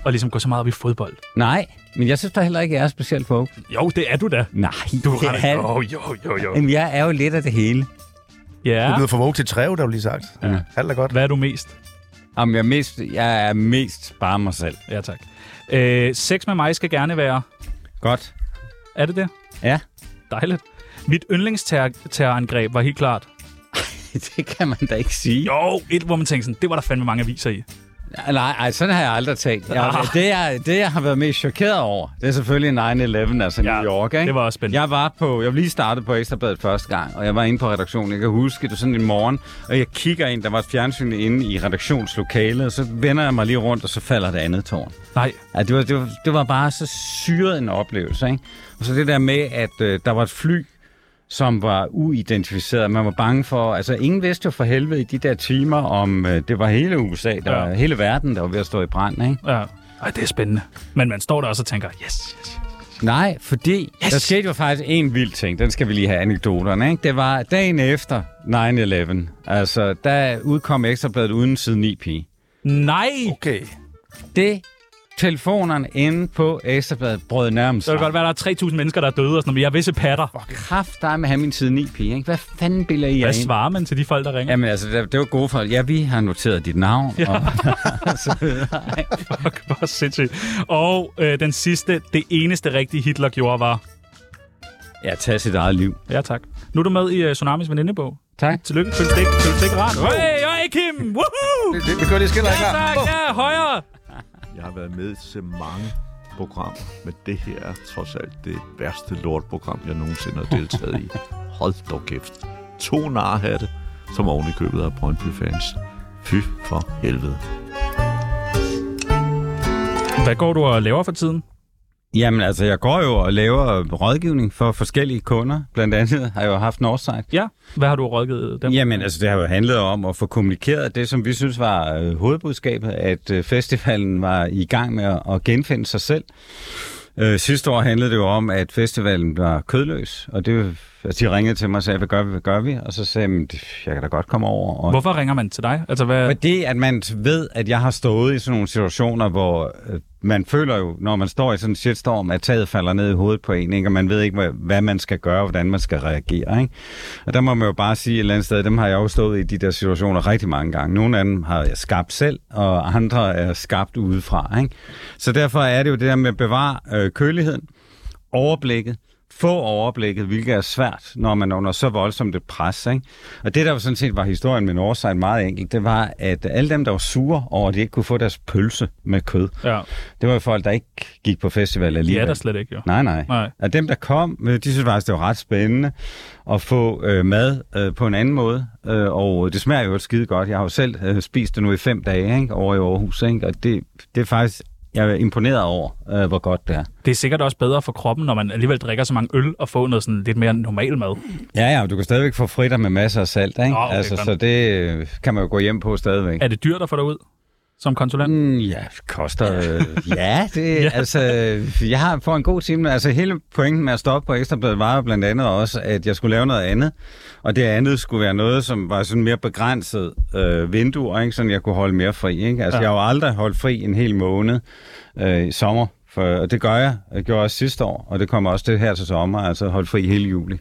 S1: at ligesom gå så meget op i fodbold.
S4: Nej, men jeg synes da heller ikke, jeg er specielt på.
S1: Jo, det er du da.
S4: Nej,
S1: Du
S4: det
S1: er
S4: er-
S1: ret. Jo, jo, jo, jo.
S4: Jamen, jeg er jo lidt af det hele.
S1: Ja.
S2: Du lyder for våg til træv, der jo lige sagt. Ja. Alt er godt.
S1: Hvad er du mest?
S4: Jamen, jeg er mest, jeg er mest bare mig selv.
S1: Ja, tak. Øh, sex med mig skal gerne være...
S4: Godt.
S1: Er det det?
S4: Ja,
S1: Dejligt. Mit yndlingsterrorangreb var helt klart...
S4: det kan man da ikke sige.
S1: Jo, et, hvor man tænkte sådan, det var der fandme mange aviser i.
S4: Nej, ej, sådan har jeg aldrig tænkt. Jeg, det, jeg, det, jeg har været mest chokeret over, det er selvfølgelig 9-11, altså
S1: Ja,
S4: New York. Ikke?
S1: det var også spændende.
S4: Jeg var på, jeg var lige startet på Ekstrabladet første gang, og jeg var inde på redaktionen. Jeg kan huske, det var sådan en morgen, og jeg kigger ind, der var et fjernsyn inde i redaktionslokalet, og så vender jeg mig lige rundt, og så falder det andet tårn.
S1: Nej,
S4: Ja, det, var, det, var, det var bare så syret en oplevelse. Ikke? Og så det der med, at øh, der var et fly, som var uidentificeret. Man var bange for... Altså, ingen vidste jo for helvede i de der timer, om øh, det var hele USA, der
S1: Ja.
S4: ja. var hele verden, der var ved at stå i brand. Ikke?
S1: ja. Ej, det er spændende. Men man står der også og tænker, yes, yes.
S4: Nej, fordi yes. der skete jo faktisk en vild ting. Den skal vi lige have anekdoterne. Ikke? Det var dagen efter 9-11. Altså, der udkom Ekstrabladet uden side 9 pige.
S1: Nej!
S2: Okay.
S4: Det telefonerne inde på Ekstrabladet brød nærmest
S1: Så kan det
S4: sammen.
S1: godt være, at der er 3.000 mennesker, der er døde og sådan noget, men jeg er visse patter.
S4: kraft dig med at have min side 9 pige. Ikke? Hvad fanden bilder I jer
S1: Hvad
S4: ind?
S1: svarer man til de folk, der ringer?
S4: Jamen altså, det, det var gode folk. Ja, vi har noteret dit navn. Ja. Og, så videre.
S1: Fuck, hvor sindssygt. Og øh, den sidste, det eneste rigtige Hitler gjorde var...
S4: ja, tag sit eget liv.
S1: Ja, tak. Nu er du med i uh, Tsunamis venindebog.
S4: Tak.
S1: Tillykke, følg stik, følg stik rart. Hey, hey, Kim! Woohoo!
S2: Det, det, det kører lige skiller
S1: Ja,
S2: ikke her.
S1: tak, ja, højere!
S8: Jeg har været med til mange programmer, men det her er trods alt det værste lortprogram, jeg nogensinde har deltaget i. Hold dog kæft. To narhatte, som oven i købet af Brøndby-fans. Fy for helvede.
S1: Hvad går du og laver for tiden?
S4: Jamen altså, jeg går jo og laver rådgivning for forskellige kunder. Blandt andet har jeg jo haft Northside.
S1: Ja. Hvad har du rådgivet dem?
S4: Jamen altså, det har jo handlet om at få kommunikeret det, som vi synes var øh, hovedbudskabet, at øh, festivalen var i gang med at, at genfinde sig selv. Øh, sidste år handlede det jo om, at festivalen var kødløs, og det, altså, de ringede til mig og sagde, hvad gør vi, hvad gør vi? Og så sagde jeg, "Men det- jeg kan da godt komme over og
S1: Hvorfor ringer man til dig? Altså, hvad...
S4: Fordi at man ved, at jeg har stået i sådan nogle situationer, hvor øh, man føler jo, når man står i sådan en shitstorm, at taget falder ned i hovedet på en, ikke? og man ved ikke, hvad, hvad man skal gøre, og hvordan man skal reagere. Ikke? Og der må man jo bare sige et eller andet sted, dem har jeg jo stået i de der situationer rigtig mange gange. Nogle af dem har jeg skabt selv, og andre er skabt udefra. Ikke? Så derfor er det jo det der med at bevare øh, køligheden, overblikket, få overblikket, hvilket er svært, når man er under så voldsomt et pres. Ikke? Og det, der jo sådan set var historien med Northside meget enkelt, det var, at alle dem, der var sure over, at de ikke kunne få deres pølse med kød,
S1: Ja,
S4: det var jo folk, der ikke gik på festival
S1: de er
S4: alligevel.
S1: der slet ikke, jo.
S4: Nej, nej.
S1: Nej.
S4: nej. Og dem, der kom, øh, de synes faktisk, det var ret spændende at få øh, mad øh, på en anden måde. Øh, og det smager jo skide godt. Jeg har jo selv øh, spist det nu i fem dage ikke? over i Aarhus. Ikke? Og det, det er faktisk, jeg er imponeret over, øh, hvor godt det er.
S1: Det er sikkert også bedre for kroppen, når man alligevel drikker så mange øl og får noget sådan lidt mere normal mad.
S4: Ja, ja, men du kan stadigvæk få fritter med masser af salt, ikke?
S1: Nå, okay,
S4: altså,
S1: godt.
S4: så det øh, kan man jo gå hjem på stadigvæk.
S1: Er det dyrt at få dig ud som konsulent? Mm.
S4: Mm, ja, det koster... Øh, ja, det, ja, altså, jeg har for en god time. Altså, hele pointen med at stoppe på Ekstrabladet var jo blandt andet også, at jeg skulle lave noget andet. Og det andet skulle være noget, som var sådan mere begrænset øh, vinduer, ikke? sådan jeg kunne holde mere fri. Ikke? Altså,
S1: Ja.
S4: ja. jeg har jo aldrig holdt fri en hel måned øh, i sommer. For, og det gør jeg. Jeg gjorde også sidste år, og det kommer også det her til sommer. Altså, holdt fri hele juli.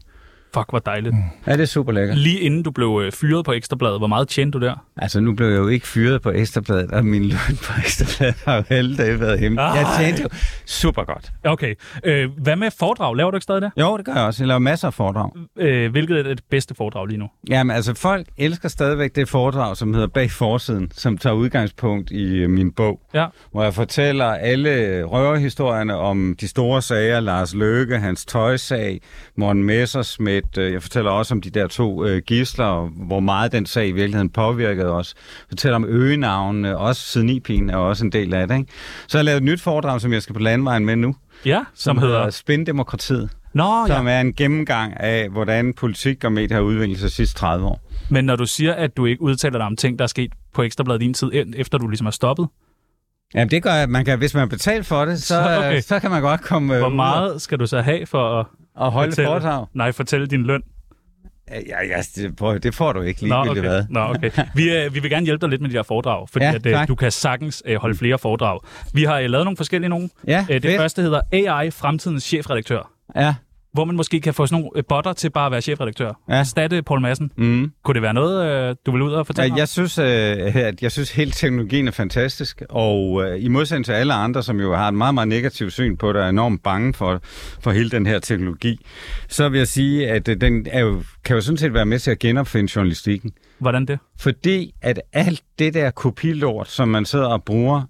S1: Fuck, hvor dejligt.
S4: Ja, det er super lækkert.
S1: Lige inden du blev øh, fyret på Ekstrabladet, hvor meget tjente du der?
S4: Altså, nu blev jeg jo ikke fyret på Ekstrabladet, og min løn på Ekstrabladet har jo alle dage været hjemme.
S1: Ej.
S4: Jeg tjente jo super godt.
S1: Okay. Øh, hvad med foredrag? Laver du ikke stadig det?
S4: Jo, det gør jeg også. Jeg laver masser af foredrag.
S1: Øh, hvilket er det bedste foredrag lige nu?
S4: Jamen, altså, folk elsker stadigvæk det foredrag, som hedder Bag forsiden, som tager udgangspunkt i øh, min bog,
S1: Ja.
S4: hvor jeg fortæller alle røverhistorierne om de store sager, Lars Løkke, hans tøjsag, Morten Messersmith, lidt... Øh, jeg fortæller også om de der to øh, gisler, og hvor meget den sag i virkeligheden påvirkede os. Jeg fortæller om øgenavnene, også Sidnipin er også en del af det. Ikke? Så har jeg lavet et nyt foredrag, som jeg skal på landvejen med nu,
S1: Ja, som hedder...
S4: Spindemokratiet,
S1: Nå, ja.
S4: som er en gennemgang af, hvordan politik og medier har udviklet sig de sidste 30 år.
S1: Men når du siger, at du ikke udtaler dig om ting, der er sket på Ekstrabladet i din tid, e- efter du ligesom er stoppet,
S4: Jamen det gør, at man kan, hvis man betaler for det, så,
S1: Så, okay.
S4: okay. så kan man godt komme øh,
S1: hvor
S4: ud
S1: meget skal du så have for at
S4: og, og holde
S1: fortælle,
S4: foredrag.
S1: Nej, fortælle din løn?
S4: Ja, ja, det, prøv, det får du ikke
S1: Nå,
S4: ligegyldigt okay.
S1: okay.
S4: hvad.
S1: Nå, okay. Vi, øh, vi vil gerne hjælpe dig lidt med de her foredrag, fordi ja,
S4: Ja,
S1: at, øh,
S4: tak.
S1: du kan sagtens øh, holde flere foredrag. Vi har øh, lavet nogle forskellige nogle.
S4: Ja,
S1: Øh, det
S4: fedt.
S1: første hedder AI, fremtidens chefredaktør.
S4: Ja,
S1: Hvor man måske kan få sådan nogle øh, botter til bare at være chefredaktør.
S4: Ja.
S1: Erstatte Poul Madsen.
S4: mm.
S1: Kunne det være noget, øh, du vil ud og fortælle
S4: ja jeg, synes, øh, at jeg synes, hele teknologien er fantastisk, og øh, i modsætning til alle andre, som jo har et meget, meget negativt syn på det, og er enormt bange for, for hele den her teknologi, så vil jeg sige, at øh, den er jo, kan jo sådan set være med til at genopfinde journalistikken.
S1: om? Hvordan det?
S4: Fordi at alt det der kopilort, som man sidder og bruger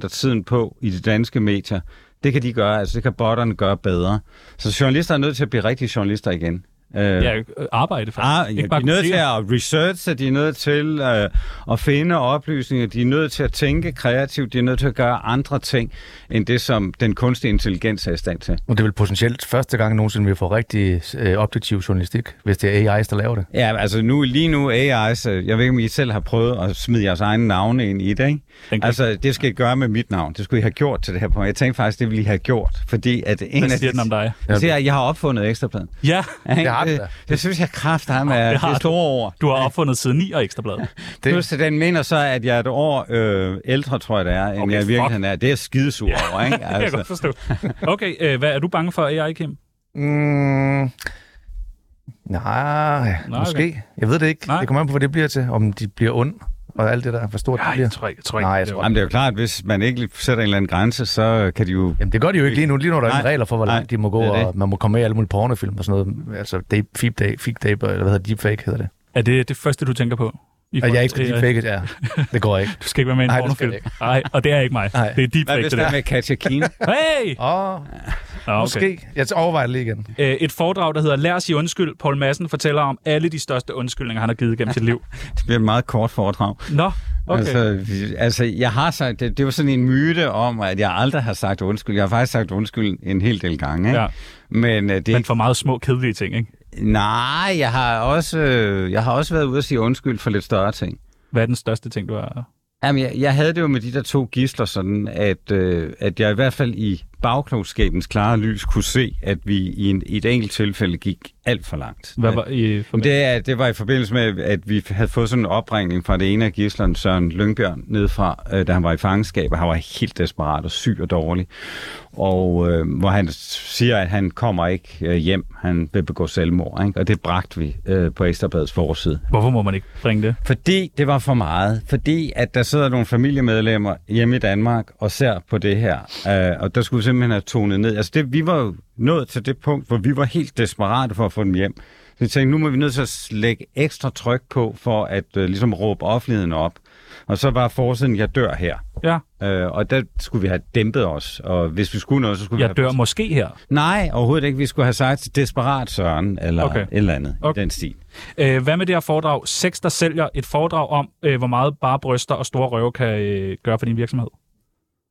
S4: 50% af tiden på i de danske medier, det kan de gøre, altså det kan botterne gøre bedre. Så journalister er nødt til at blive rigtige journalister igen. Øh,
S1: Ja, øh, arbejde faktisk.
S4: Ah, ja, de er nødt til at researche, de er nødt til øh, at finde oplysninger, de er nødt til at tænke kreativt, de er nødt til at gøre andre ting, end det, som den kunstige intelligens er i stand til.
S2: Og det er vel potentielt første gang nogensinde, vi får rigtig øh, objektiv journalistik, hvis det er AI's, der laver det.
S4: Ja, altså nu, lige nu AI, så jeg ved ikke, om I selv har prøvet at smide jeres egne navne ind i det, ikke?
S1: Den kan-
S4: Altså, det skal I gøre med mit navn. Det skulle I have gjort til det her punkt. Jeg tænkte faktisk, det ville I have gjort, fordi at en
S1: Hvad
S4: af
S1: siger
S4: de-
S1: den om dig?
S4: Jeg siger, at jeg har opfundet ekstrapladen.
S1: Ja,
S4: Det
S2: har den da.
S4: det, det synes jeg kraft ham er det,
S1: har
S4: det
S1: du.
S4: store ord.
S1: du har opfundet side 9 og Ekstrabladet.
S4: Det... Plus at den mener så, at jeg er et år øh, ældre, tror jeg det er, end
S1: Okay,
S4: okay, jeg i
S1: fuck.
S4: virkeligheden er. Det er jeg skidesur over, ikke?
S1: Det kan jeg godt
S4: Altså,
S1: forstå. Okay, øh, hvad er du bange for AI, Kim?
S2: Mm, nej,
S1: Nå,
S2: nej, måske. Okay. Jeg ved det ikke.
S1: Nej.
S2: Nej. Det kommer an på, hvad det bliver til. Om de bliver ond, og alt det der. Hvor stort det
S1: Nej,
S2: bliver.
S1: jeg tror ikke. Jeg tror ikke
S2: Nej, jeg
S1: det
S2: tror
S1: var-
S4: jamen, det er jo klart, at hvis man ikke sætter en eller anden grænse, så kan de jo...
S2: Jamen, det gør de jo ikke lige nu. Lige nu er der
S4: Nej.
S2: ingen regler for, hvor langt
S4: Nej,
S2: de må gå,
S4: det er det.
S2: og man må komme med i alle mulige pornofilm og sådan noget. Altså, deep, deep, deep, deep, deep, eller hvad hedder det? deepfake hedder det.
S1: Er det det første, du tænker på? I
S2: At
S1: forhold
S2: jeg ikke skal
S1: til, øh,
S2: deepfake, ja. Det går ikke.
S1: Du skal ikke være med i en
S2: Nej, det skal
S1: pornofilm. Nej, og det er ikke mig.
S2: Nej.
S1: Det er
S4: Hvad
S1: deepfake,
S4: hvis
S1: det
S4: det er
S1: der.
S4: med Katja Kine?
S1: Hey!
S2: Åh, oh,
S1: Nå, okay.
S2: måske. Jeg overvejer det lige igen.
S1: Øh, Et foredrag, der hedder Lær os i undskyld. Paul Madsen fortæller om alle de største undskyldninger, han har givet gennem sit liv.
S4: Det bliver et meget kort foredrag.
S1: Nå, okay.
S4: Altså, vi- altså, jeg har sagt, det, det var sådan en myte om, at jeg aldrig har sagt undskyld. Jeg har faktisk sagt undskyld en hel del gange. Ikke?
S1: Ja.
S4: Men øh, det er
S1: Men for meget små, kedelige ting, ikke?
S4: ikke, nej, jeg har, også, øh, jeg har også været ude og sige undskyld for lidt større ting.
S1: Hvad er den største ting, du har...
S4: Jamen, jeg, jeg havde det jo med de der to gisler sådan, at, øh, at jeg i hvert fald i bagklogskabens klare lys kunne se, at vi i, en, i et enkelt tilfælde gik alt for langt.
S1: Hvad var i... For...
S4: Men Det, er, det var i forbindelse med, at vi havde fået sådan en opringning fra det ene af gislerne, Søren Lyngbjørn, nedefra, øh, da han var i fangenskab, og han var helt desperat og syg og dårlig. Og øh, hvor han siger, at han kommer ikke øh, hjem, han vil begå selvmord. Ikke? Og det bragte vi øh, på Ekstrabladets forside.
S1: Hvorfor må man ikke bringe det?
S4: Fordi det var for meget. Fordi at der sidder nogle familiemedlemmer hjemme i Danmark og ser på det her. Øh, og der skulle vi simpelthen have tonet ned. Altså det, vi var jo nået til det punkt, hvor vi var helt desperate for at få dem hjem. Så vi tænkte, nu må vi nødt til at lægge ekstra tryk på for at øh, ligesom råbe offentligheden op. Og så var forsiden, jeg dør her.
S1: Ja,
S4: Øh, og der skulle vi have dæmpet os. Og hvis vi skulle noget, så skulle vi
S1: jeg
S4: have...
S1: dør måske her.
S4: Nej, overhovedet ikke. Vi skulle have sagt desperat Søren, eller
S1: Okay.
S4: okay. et eller andet
S1: Okay.
S4: okay. i den stil.
S1: Øh, Hvad med det her foredrag? Seks, der sælger et foredrag om, øh, hvor meget bare bryster og store røve kan øh, gøre for din virksomhed.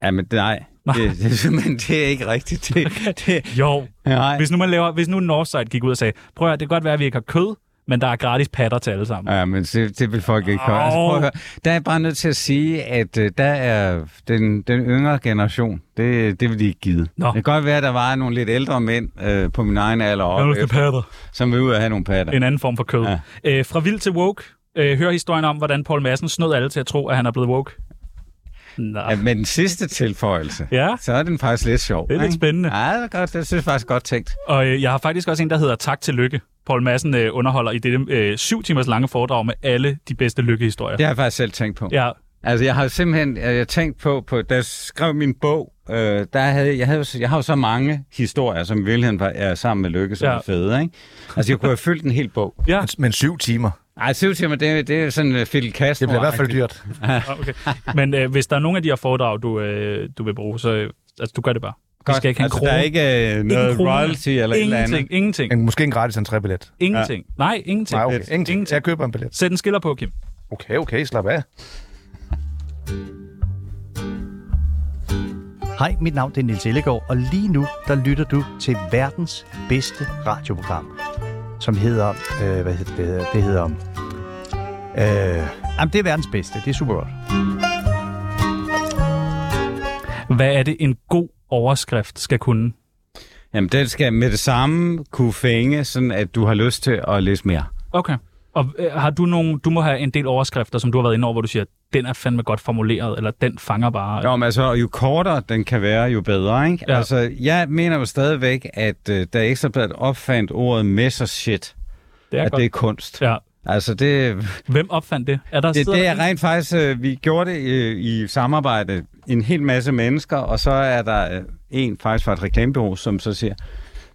S4: Jamen, nej.
S1: Nej.
S4: nej. Det, det, simpelthen, det er ikke rigtigt. Det, det,
S1: Jo,
S4: nej.
S1: Hvis nu, man laver, hvis nu Northside gik ud og sagde, prøv at høre, det kan godt være, at vi ikke har kød, men der er gratis patter til alle sammen.
S4: Ja, men det, det vil folk ikke høre. Altså,
S1: Au.
S4: prøv at høre. Der er jeg bare nødt til at sige, at øh, der er den, den yngre generation, det, det vil de ikke give.
S1: Nå.
S4: Det kan godt være, at der var nogle lidt ældre mænd øh, på min egen alder,
S1: Ja,
S4: op,
S1: det er
S4: efter,
S1: patter.
S4: som vil ud og have nogle patter.
S1: En anden form for kød. Ja.
S4: Ja.
S1: Øh, fra vild til woke. Øh, hør historien om, hvordan Paul Madsen snød alle til at tro, at han er blevet woke. Nå.
S4: Ja, men den sidste tilføjelse,
S1: Ja.
S4: så er den faktisk lidt sjov.
S1: Det er lidt
S4: ikke?
S1: spændende.
S4: Ja, det er godt. Det synes jeg faktisk godt tænkt.
S1: Og øh, jeg har faktisk også en, der hedder Tak til Lykke. Paul Madsen øh, underholder i dette øh, syv timers lange foredrag med alle de bedste lykkehistorier.
S4: Det har jeg faktisk selv tænkt på.
S1: Ja,
S4: Altså, jeg har simpelthen øh, jeg tænkt på, på, da jeg skrev min bog, øh, der havde, jeg, havde, jo så- jeg har jo så mange historier, som i virkeligheden var, er sammen med Lykke, som
S1: Ja.
S4: ja. er fede, ikke? Altså, jeg kunne have fyldt en hel bog.
S1: ja.
S2: Men syv timer.
S4: Ej, syv timer, det, det er sådan uh, Fidel Castro.
S2: Det bliver i hvert fald dyrt.
S1: Ah, Okay. Men øh, hvis der er nogle af de her foredrag, du, øh, du vil bruge, så øh, altså, du gør det bare. Vi skal ikke have en
S4: altså,
S1: krone.
S4: der er ikke øh, noget
S1: krone.
S4: royalty eller et eller andet.
S1: ingenting, ingenting,
S2: Men måske en gratis entrébillet.
S1: ingenting. Nej, ingenting.
S2: Nej, okay.
S1: Ingenting.
S2: Ingenting. Jeg køber en billet.
S1: Sæt en skiller på, Kim.
S2: Okay, okay, slap af.
S9: Hej, mit navn det er Nils Ellegaard, og lige nu der lytter du til verdens bedste radioprogram, som hedder... Øh, hvad hedder det? Det hedder... um, Øh, jamen, det er verdens bedste. Det er super godt.
S1: Hvad er det, en god overskrift skal kunne?
S4: Jamen, den skal med det samme kunne fænge, sådan at du har lyst til at læse mere.
S1: Okay. Og øh, har du nogen, du må have en del overskrifter, som du har været inde over, hvor du siger, den er fandme godt formuleret, eller den fanger bare.
S4: Nå, men altså, og jo kortere den kan være, jo bedre, ikke?
S1: Ja.
S4: Ja. Altså, jeg mener jo stadigvæk, at øh, da Ekstrabladet opfandt ordet messershit,
S1: det er
S4: at
S1: godt.
S4: det er kunst.
S1: Ja.
S4: Altså, det,
S1: Hvem opfandt det? Er der
S4: det,
S1: sidder
S4: det
S1: der
S4: er
S1: en-
S4: rent faktisk, øh, vi gjorde det øh, i samarbejde en hel masse mennesker, og så er der øh, en faktisk fra et reklamebureau, som så siger,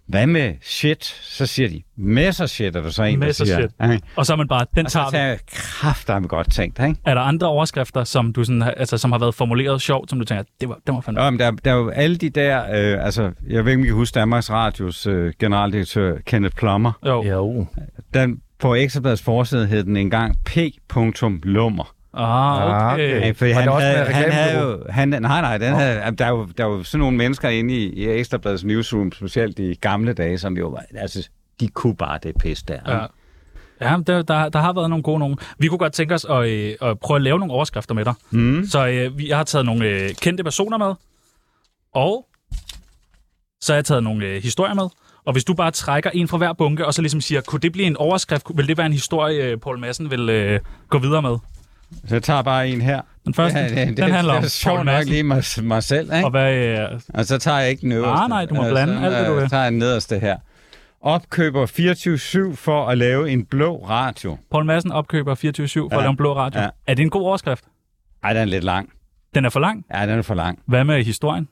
S4: hvad med shit? Så siger de, messershit er der så en, der siger.
S1: Messershit. Og så er man bare, den
S4: Og så
S1: tager vi.
S4: tager jeg kraftedeme godt tænkt, ikke?
S1: Er der andre overskrifter, som, du sådan, har- altså, som har været formuleret sjovt, som du tænker, det var, det var fandme...
S4: Nå, men der, der er jo alle de der, øh, altså, jeg ved ikke, om I kan huske Danmarks Radios øh, generaldirektør Kenneth Plummer.
S1: Jo.
S2: Ja, uh.
S4: Den, på Ekstrabladets forside hed den engang P.Lummer.
S1: Ah, okay.
S4: Øh,
S1: okay.
S4: fordi
S2: Var
S4: han,
S2: det også
S4: havde,
S2: med
S4: han havde
S2: reklamebureau?
S4: jo... Han, nej, nej, den havde, jamen, der, er jo, der er jo sådan nogle mennesker inde i, i Ekstrabladets newsroom, specielt i gamle dage, som jo var... Altså, de kunne bare det pis der.
S1: Ja. Ja, men der, der, der har været nogle gode nogen. Vi kunne godt tænke os at, øh, at prøve at lave nogle overskrifter med dig. Mm. Så øh, vi, jeg har taget nogle øh, kendte personer med, og så har jeg taget nogle øh, historier med. Og hvis du bare trækker en fra hver bunke, og så ligesom siger, kunne det blive en overskrift? Kunne- Vil det være en historie, øh, Poul Madsen vil øh, gå videre med?
S4: Så jeg tager bare en her.
S1: Den første, ja,
S4: det,
S1: den handler om
S4: det, det er sjovt
S1: Poul
S4: nok
S1: Madsen.
S4: lige mig, mig selv, ikke?
S1: Og hvad, øh,
S4: Og så tager jeg ikke den øverste.
S1: Ah, nej, du må
S4: Øh,
S1: blande
S4: så,
S1: alt, hvad du
S4: øh,
S1: vil.
S4: tager jeg den nederste her. Opkøber 24-7 for at lave en blå radio.
S1: Poul Madsen opkøber 24-7 for ja. at
S4: Ja.
S1: lave en blå radio. Ja.
S4: Ja.
S1: Er det en god overskrift?
S4: Ej, den er lidt lang.
S1: Den er for lang.
S4: Ja, den er for lang.
S1: Hvad med historien?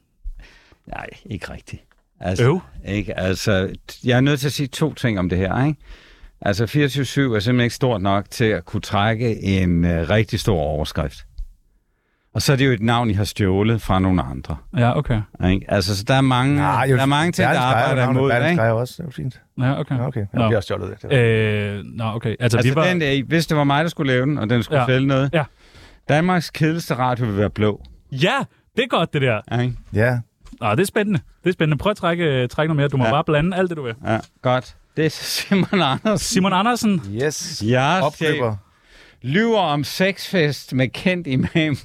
S4: Nej, ikke rigtigt. Altså,
S1: Øv.
S4: Ikke? Altså, jeg er nødt til at sige to ting om det her, ikke? Altså, 24-7 er simpelthen ikke stort nok til at kunne trække en øh, rigtig stor overskrift. Og så er det jo et navn, I har stjålet fra nogle andre.
S1: Ja, okay.
S4: Ikke? Altså, så der er mange,
S2: Nej,
S4: der er mange ting, der arbejder imod.
S2: det.
S4: Ikke?
S2: Berlingske Altså, også. Det er jo fint.
S1: Ja, okay.
S2: Ja, okay. Jeg
S1: Nå.
S2: bliver også stjålet det.
S1: Øh, nå, okay. Altså,
S4: Altså,
S1: vi var...
S4: den der, hvis det var mig, der skulle lave den, og den skulle
S1: Ja.
S4: ja. fælde noget.
S1: Ja.
S4: Danmarks kedeligste radio vil være blå.
S1: Ja, det er godt, det der.
S4: Ikke?
S2: Ja.
S1: Nå, det er spændende. Det er spændende. Prøv at trække, øh, trække noget mere. Du må ja.
S4: Ja.
S1: bare blande alt det, du vil.
S4: Ja, godt. Det er Simon Andersen.
S1: Simon Andersen.
S2: Yes.
S4: Ja,
S2: Opkøber.
S4: Lyver om sexfest med kendt imam. Den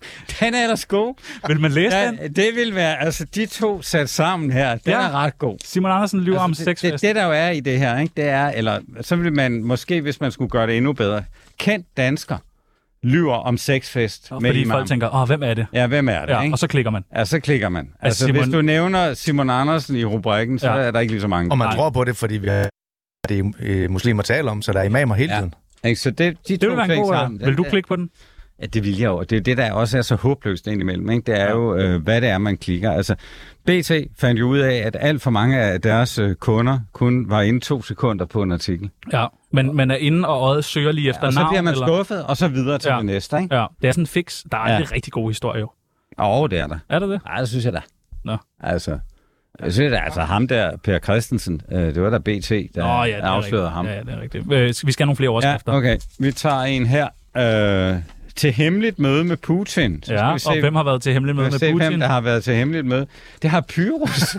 S4: er ellers god.
S1: Vil man læse den?
S4: Ja, det vil være, altså de to sat sammen her, den
S1: Ja.
S4: ja. er ret god.
S1: Simon Andersen lyver altså, om
S4: det, det,
S1: sexfest.
S4: det, der jo er i det her, ikke, det er, eller så vil man måske, hvis man skulle gøre det endnu bedre, kendt dansker lyver om sexfest med
S1: Fordi
S4: imam.
S1: folk tænker, åh, hvem er det?
S4: Ja, hvem er det,
S1: Ja,
S4: ikke?
S1: og så klikker man.
S4: Ja, så klikker man. Altså,
S1: Simon-
S4: Simon... hvis du nævner Simon Andersen i rubrikken, så
S1: Ja.
S4: ja. er der ikke lige så mange.
S2: Og man
S1: Nej.
S2: tror på det, fordi vi er, det er øh, muslimer taler om, så der er imamer hele
S4: Ja.
S2: tiden.
S4: Ikke? Så det, de
S1: Det
S4: to
S1: vil være en
S4: ting
S1: god... øh,
S4: sammen,
S1: Vil
S4: den
S1: du
S4: der-
S1: klikke på den?
S4: Ja, det vil jeg jo. Det er jo det, der også er så håbløst indimellem. Ikke? Det er
S1: Ja.
S4: ja. jo, øh, hvad det er, man klikker. Altså, BT fandt jo ud af, at alt for mange af deres øh, kunder kun var inde to sekunder på en artikel.
S1: Ja, men man er inde, og øjet søger lige efter
S4: Og så
S1: navn.
S4: bliver man
S1: eller-
S4: skuffet, og så videre til
S1: Ja.
S4: ja. det næste. Ikke?
S1: Ja, det er sådan en fix. Der er
S4: Ja.
S1: aldrig rigtig gode historier, jo.
S4: Og det er der.
S1: Er det det?
S4: Ej, det synes jeg da.
S1: Nå.
S4: Altså, jeg synes da, altså ham der, Per Christensen, øh, det var der BT, der
S1: Nå,
S4: oh,
S1: ja, det
S4: ja,
S1: er
S4: afslørede
S1: rigtigt.
S4: ham.
S1: Ja, ja, det er rigtigt. Øh, skal- vi skal have nogle flere
S4: Ja,
S1: overskrifter.
S4: okay. Vi tager en her. Øh, til hemmeligt møde med Putin. Så
S1: Ja,
S4: skal vi se,
S1: og hvem har været til hemmelig møde med
S4: se, hvem
S1: Putin?
S4: der har været til hemmeligt møde. Det har Pyrus.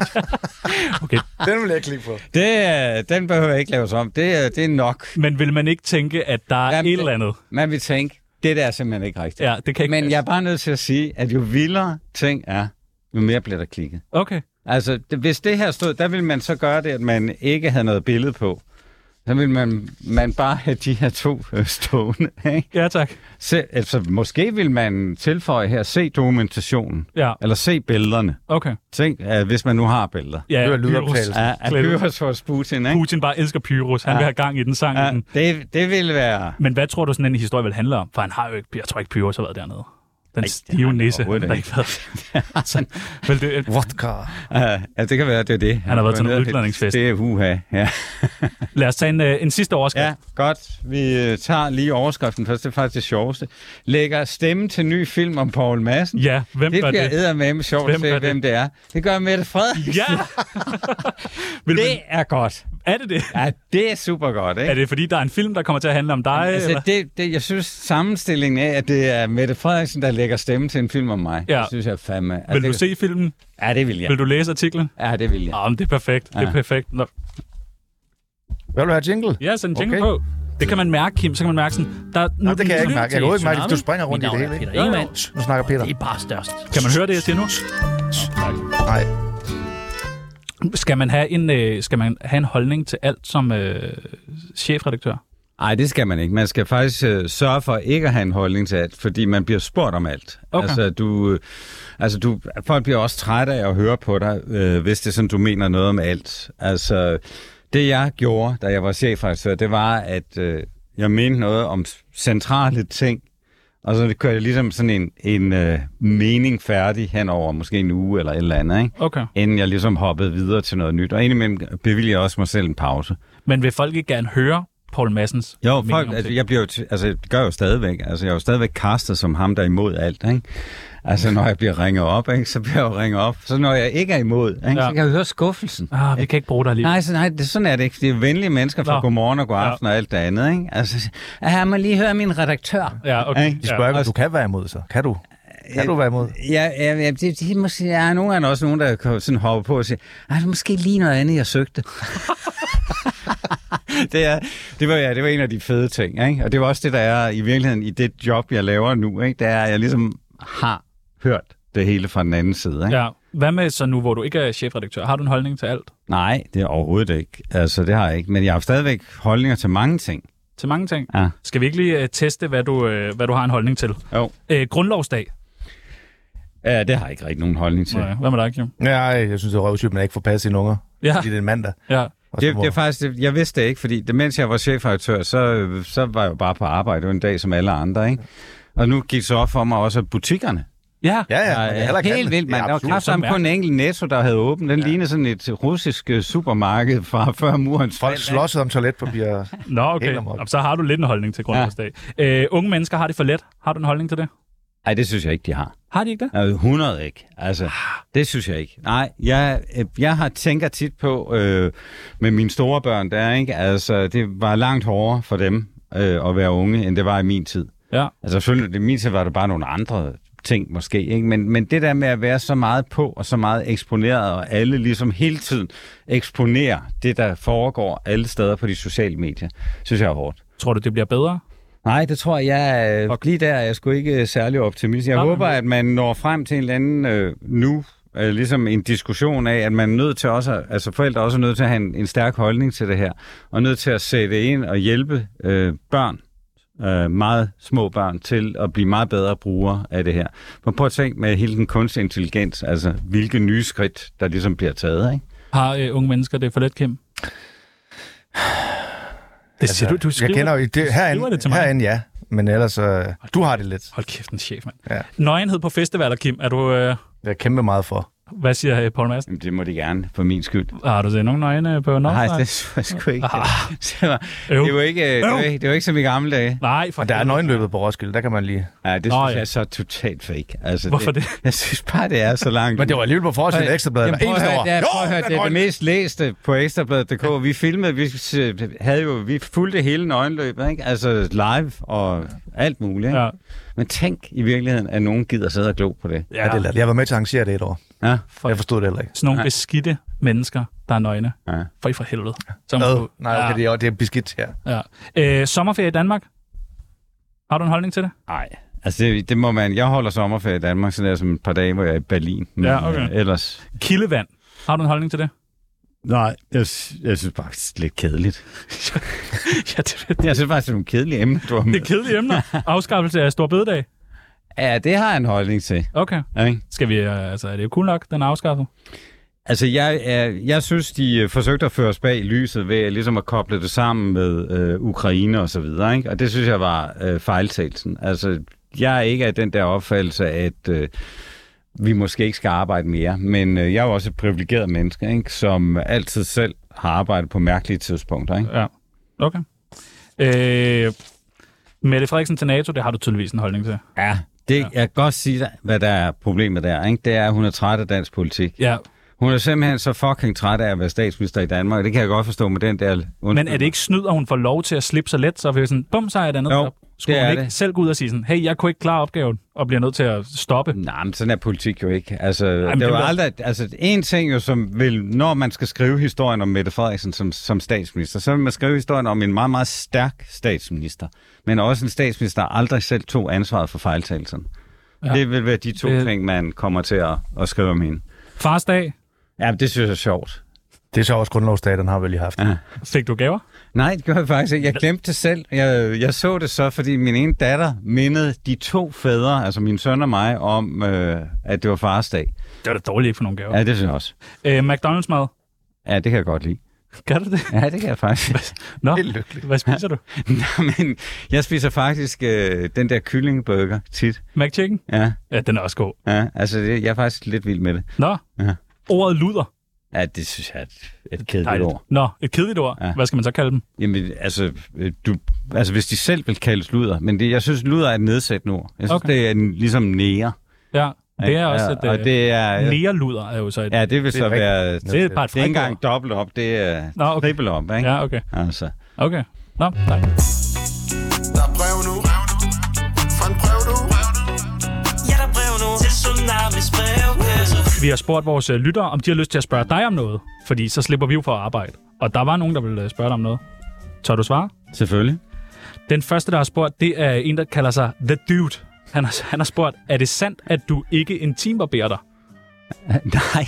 S2: Den vil jeg klikke på.
S4: Det, er- den behøver jeg ikke laves om. Det, er- det er nok.
S1: Men vil man ikke tænke, at der er
S4: Jamen,
S1: et
S4: det-
S1: eller andet?
S4: Man vil tænke, det der er simpelthen ikke rigtigt.
S1: Ja, det kan ikke
S4: Men
S1: passe.
S4: jeg er bare nødt til at sige, at jo vildere ting er, jo mere bliver der klikket.
S1: Okay.
S4: Altså, det, hvis det her stod, der ville man så gøre det, at man ikke havde noget billede på. Så ville man, man bare have de her to øh, stående. Ikke?
S1: Ja, tak.
S4: Se, altså, måske vil man tilføje her, se dokumentationen,
S1: Ja,
S4: eller se billederne.
S1: okay.
S4: Tænk, øh, hvis man nu har billeder.
S1: Ja,
S2: Det var
S1: Pyrus.
S2: lydoptagelse.
S4: Ja, at
S1: Klædt ud.
S4: Pyrus hos Putin, ikke?
S1: Putin bare elsker Pyrus. Han ja.
S4: Ja.
S1: vil have gang i den sang. Ja.
S4: Ja, det, det ville være...
S1: Men hvad tror du, sådan en historie vil handle om? For han har jo ikke, jeg tror ikke, Pyrus har været dernede. Den Ej, stive nisse,
S4: overhovedet
S1: der ikke ved. altså, vel, det,
S2: Vodka.
S4: Uh, altså, det kan være, det er det.
S1: Han har været til
S4: gået
S1: noget
S4: ned og-
S1: udklædningsfest.
S4: Det er uha, ja.
S1: lad os tage en, øh, en sidste overskrift.
S4: Ja, godt. Vi øh, tager lige overskriften først. Det er faktisk det sjoveste. Lægger stemme til ny film om Paul Madsen.
S1: Ja, hvem
S4: det
S1: gør
S4: bliver
S1: det?
S4: eddermame sjovt
S1: Hvem
S4: at se,
S1: gør det?
S4: hvem det er. Det gør Mette Frederiksen.
S1: Ja! Vil
S4: Det
S1: det...
S4: er godt.
S1: Er det det?
S4: Ja, det er super godt, ikke?
S1: Er det, fordi der er en film, der kommer til at handle om dig?
S4: altså,
S1: eller?
S4: det, det, jeg synes, sammenstillingen af, at det er Mette Frederiksen, der lægger stemme til en film om mig,
S1: Ja.
S4: det synes jeg fandme... Ja,
S1: Vil
S4: det,
S1: du se filmen?
S4: Ja, det vil
S1: Ja.
S4: jeg.
S1: Vil du læse artiklen?
S4: Ja, det vil jeg.
S1: Ja. Oh, men det er perfekt. Ja. Det er
S4: Ja.
S1: perfekt. Nå.
S2: Hvad vil du have jingle?
S1: Ja, sådan en jingle
S2: Okay.
S1: på. Det kan man mærke, Kim. Så kan man mærke sådan... Der, nu,
S2: Nå, det kan jeg ikke mærke. Jeg kan jo ikke mærke, at du
S5: Tsunami.
S2: springer rundt i
S5: Mit
S2: det
S5: navn
S2: hele.
S5: er
S2: ikke?
S5: Peter Ingemann.
S2: Jo, jo. Nu snakker Peter.
S5: Det er bare størst.
S1: Kan man høre det, jeg siger nu?
S2: Nej.
S1: Skal man have en, øh, skal man have en holdning til alt som øh, chefredaktør?
S4: Nej, det skal man ikke. Man skal faktisk øh, sørge for ikke at have en holdning til alt, fordi man bliver spurgt om alt.
S1: Okay.
S4: Altså, du, øh, altså du, folk bliver også trætte af at høre på dig, øh, hvis det er sådan, du mener noget om alt. Altså, det jeg gjorde, da jeg var chefredaktør, det var, at øh, jeg mente noget om s- centrale ting, og så kørte jeg ligesom sådan en, en øh, mening færdig hen over måske en uge eller et eller andet, ikke?
S1: Okay.
S4: inden jeg ligesom hoppede videre til noget nyt. Og indimellem bevilger jeg også mig selv en pause.
S1: Men vil folk ikke gerne høre Paul Massens
S4: Jo,
S1: mening
S4: folk,
S1: om
S4: altså,
S1: ting?
S4: jeg bliver jo t- altså, det gør jeg jo stadigvæk. Altså, jeg er jo stadigvæk castet som ham, der er imod alt, ikke? Altså, når jeg bliver ringet op, ikke, så bliver jeg jo ringet op. Så når jeg ikke er imod, ikke,
S1: Ja.
S4: ja. så kan jeg høre skuffelsen.
S1: Ah, vi kan ikke bruge dig lige.
S4: Nej, så nej, det, sådan er det ikke. Det er venlige mennesker fra
S1: Nå.
S4: godmorgen og god
S1: Ja.
S4: aften og alt det andet, ikke? Altså, her må lige høre min redaktør.
S1: Ja, okay.
S4: Ikke?
S2: De
S1: Ja.
S2: spørger, ja, du kan være imod, så. Kan du? Kan du være imod?
S4: Ja, ja, ja det, det er måske, ja, nogle gange også nogen, der kan sådan hopper på og siger, "Ej, det er måske lige noget andet, jeg søgte. det, er, det, var, ja, det var en af de fede ting, ikke? og det var også det, der er i virkeligheden i det job, jeg laver nu, ikke? det er, at jeg ligesom har hørt det hele fra den anden side. Ikke?
S1: Ja. Hvad med så nu, hvor du ikke er chefredaktør? Har du en holdning til alt?
S4: Nej, det er overhovedet ikke. Altså, det har jeg ikke. Men jeg har stadigvæk holdninger til mange ting.
S1: Til mange ting?
S4: Ja.
S1: Skal vi ikke lige øh, teste, hvad du, øh, hvad du har en holdning til?
S4: Jo.
S1: Øh, grundlovsdag.
S4: Ja, det har jeg ikke rigtig nogen holdning til.
S1: Nej, hvad med dig, Kim?
S2: Nej, jeg synes, det er røvsygt, at man ikke får passet sine unger.
S1: Ja,
S2: Fordi det er en mandag.
S1: ja.
S2: Og så
S4: Det,
S2: må-
S4: det er faktisk, det, jeg vidste det ikke, fordi det, mens jeg var chefredaktør, så, så var jeg jo bare på arbejde. Det var en dag som alle andre, ikke? Og nu gik det så op for mig også, at butikkerne
S1: Ja,
S2: Ja, ja.
S4: er
S2: man kan heller ikke
S4: helt
S2: handle.
S4: vildt,
S2: Det er
S4: mand. Der var
S2: absurd.
S4: knap sammen
S1: Så
S4: kun en enkelt netto, der havde åbent. Den ja. lignede sådan et russisk øh, supermarked fra før murens
S2: Folk
S4: fald.
S2: slåsset om toiletpapir.
S1: Nå, okay.
S2: Helt om op.
S1: Jamen, så har du lidt en holdning til grundlovsdag. Ja. Øh, unge mennesker har det for let. Har du en holdning til det?
S4: Nej, det synes jeg ikke, de har.
S1: Har de ikke det?
S4: Altså, 100 ikke. Altså, det synes jeg ikke. Nej, jeg, øh, jeg har tænker tit på øh, med mine store børn der, ikke? Altså, det var langt hårdere for dem øh, at være unge, end det var i min tid.
S1: Ja.
S4: Altså selvfølgelig, i min tid var der bare nogle andre ting måske, ikke? Men, men det der med at være så meget på og så meget eksponeret, og alle ligesom hele tiden eksponerer det, der foregår alle steder på de sociale medier, synes jeg er hårdt.
S1: Tror du, det bliver bedre?
S4: Nej, det tror jeg, jeg er- øh,
S1: Fuck.
S4: lige der er jeg sgu ikke øh, særlig optimist. Jeg
S1: Nej, men-
S4: håber, at man når frem til en eller anden øh, nu, øh, ligesom en diskussion af, at man er nødt til også, at- altså forældre er også nødt til at have en, en stærk holdning til det her, og nødt til at sætte ind og hjælpe øh, børn, øh, meget små børn, til at blive meget bedre brugere af det her. Men prøv at tænke med hele den kunstig intelligens, altså hvilke nye skridt, der ligesom bliver taget, ikke?
S1: Har øh, unge mennesker det for let, Kim? Det siger du, du skriver.
S2: Altså, Jeg kender jo det, herinde,
S1: skriver det til mig.
S2: herinde, ja. Men ellers, øh, du har det lidt.
S1: Hold kæft, en chef, mand. Ja.
S2: Ja.
S1: Nøgenhed på festivaler, Kim. Er du, øh,
S2: Det er jeg kæmpe meget for.
S1: hvad siger øh, Paul Madsen?
S4: Jamen, det må de gerne, for min skyld.
S1: Har du set nogen nøgne på Nordsjælland?
S4: Nej, det så jeg sgu ikke. Det var,
S1: Øv.
S4: det var ikke, øh, det var, ikke- det var ikke som i gamle dage.
S1: Nej, for
S2: Og der er
S1: helvede.
S2: nøgenløbet på Roskilde, der kan man lige...
S4: Ja, det synes
S1: Nå,
S4: Nå,
S1: ja.
S4: ja. jeg er så totalt fake. Altså,
S1: Hvorfor det?
S4: Jeg synes bare, det er så langt.
S2: Men det var alligevel på forsiden af
S4: Prøv-
S2: Ekstrabladet.
S4: Jamen,
S2: Hver
S4: prøv at
S2: eneste
S4: høre,
S2: år.
S4: det, er, prøv at høre,
S2: der
S4: det er
S2: er
S4: det
S2: nøgen.
S4: mest læste på Ekstrabladet.dk. Vi filmede, vi øh, havde jo, vi fulgte hele nøgenløbet, ikke? Altså live og alt muligt, ikke?
S1: Ja.
S4: Ja. Men tænk i virkeligheden, at nogen gider sidde og glo på det.
S2: Ja, det er latterligt. Jeg var med til at arrangere det et år.
S4: Ja.
S1: For-
S2: Jeg forstod det heller ikke.
S1: Sådan nogle beskidte mennesker, der er nøgne.
S4: Ja.
S1: For i for helvede. Som
S2: Ad. Nej, okay, det er, det er beskidt her.
S1: Ja. Øh, sommerferie i Danmark? Har du en holdning til det?
S4: Nej. Altså, det, det, må man... Jeg holder sommerferie i Danmark, så det er som et par dage, hvor jeg er i Berlin. Men,
S1: Ja, okay.
S4: øh, Ellers...
S1: Kildevand. Har du en holdning til det?
S4: Nej, jeg, jeg synes faktisk, det er lidt kedeligt.
S1: ja, det,
S4: Jeg synes faktisk, det er nogle kedelige emner, du har med.
S1: det er kedelige emner. Afskaffelse af Stor Bededag.
S4: Ja, det har jeg en holdning til.
S1: Okay.
S4: Ikke?
S1: Skal vi, øh, altså, er det jo cool nok, den er afskaffet?
S4: Altså, jeg, er, jeg synes, de øh, forsøgte at føre os bag lyset ved ligesom at koble det sammen med øh, Ukraine og så videre, ikke? Og det synes jeg var øh, fejltagelsen. Altså, jeg er ikke af den der opfattelse, at øh, vi måske ikke skal arbejde mere, men øh, jeg er jo også et privilegeret menneske, ikke? som altid selv har arbejdet på mærkelige tidspunkter. Ikke?
S1: Ja. Okay. Øh, Mette Frederiksen til NATO, det har du tydeligvis en holdning til.
S4: Ja, det, jeg kan godt sige dig, hvad der er problemet der. Ikke? Det er, at hun er træt af dansk politik.
S1: Ja,
S4: Hun er simpelthen så fucking træt af at være statsminister i Danmark, og det kan jeg godt forstå med den der... Undskyld.
S1: men er det ikke snyd, at hun får lov til at slippe sig let, så er vi sådan, bum, så er jeg et andet
S4: Jo,
S1: job. Skulle
S4: det
S1: hun
S4: er
S1: ikke
S4: det.
S1: selv gå ud og sige sådan, hey, jeg kunne ikke klare opgaven, og bliver nødt til at stoppe?
S4: Nej, men sådan er politik jo ikke. Altså, Jamen,
S1: det
S4: det var
S1: var-
S4: aldrig, altså, en ting jo, som vil, når man skal skrive historien om Mette Frederiksen som, som statsminister, så vil man skrive historien om en meget, meget stærk statsminister, men også en statsminister, der aldrig selv tog ansvaret for fejltagelsen. Ja. Det vil være de to
S1: Det-
S4: det... ting, man kommer til at, at skrive om hende.
S1: Fars dag,
S4: Ja, men det synes jeg er sjovt.
S2: Det er så også grundlovsdag, den har vi lige haft. Ja.
S1: fik du gaver?
S4: Nej, det gjorde jeg faktisk ikke. Jeg glemte det selv. Jeg, jeg så det så, fordi min ene datter mindede de to fædre, altså min søn og mig, om, øh, at det var fars dag.
S1: Det var da dårligt ikke for nogle gaver.
S4: Ja, det synes jeg også.
S1: Øh, McDonald's-mad,
S4: Ja, det kan jeg godt lide.
S1: kan du det?
S4: Ja, det kan jeg faktisk.
S1: Nå,
S2: Det er lykkeligt.
S1: hvad spiser du?
S4: Nå, men jeg spiser faktisk øh, den der kyllingeburger tit.
S1: McChicken?
S4: Ja,
S1: Ja, den er også god.
S4: ja altså det, jeg er faktisk lidt vild med det.
S1: Nå,
S4: Ja.
S1: ordet luder.
S4: Ja, det synes jeg er et, et kedeligt
S1: Dejligt.
S4: ord.
S1: Nå, et kedeligt ord. Ja.
S4: Ja.
S1: Hvad skal man så kalde dem?
S4: Jamen, altså, øh, du, altså hvis de selv vil kaldes luder, men det, jeg synes, luder er et nedsættende ord. Jeg synes,
S1: Okay.
S4: okay. det er en, ligesom nære.
S1: Ja, det er
S4: ikke?
S1: også
S4: ja,
S1: et... øh,
S4: og det er,
S1: Negerluder er jo så et...
S4: ja, det vil
S2: det er
S4: så
S2: rigtigt.
S4: være...
S1: det er et par
S4: Det er ikke engang dobbelt op, det er
S1: Nå, okay.
S4: triple op, ikke?
S1: Ja, okay.
S4: Altså.
S1: Okay. Nå, nej.
S7: Der er brev nu. Fra en brev du.
S6: Ja, der er brev nu til Tsunamis brevkasse
S1: Vi har spurgt vores øh, lyttere, om de har lyst til at spørge dig om noget. Fordi så slipper vi jo for at arbejde. Og der var nogen, der ville øh, spørge dig om noget. Tør du svare?
S4: Selvfølgelig.
S1: Den første, der har spurgt, det er en, der kalder sig The Dude. Han har, han har spurgt, er det sandt, at du ikke intimbarberer dig?
S4: Nej,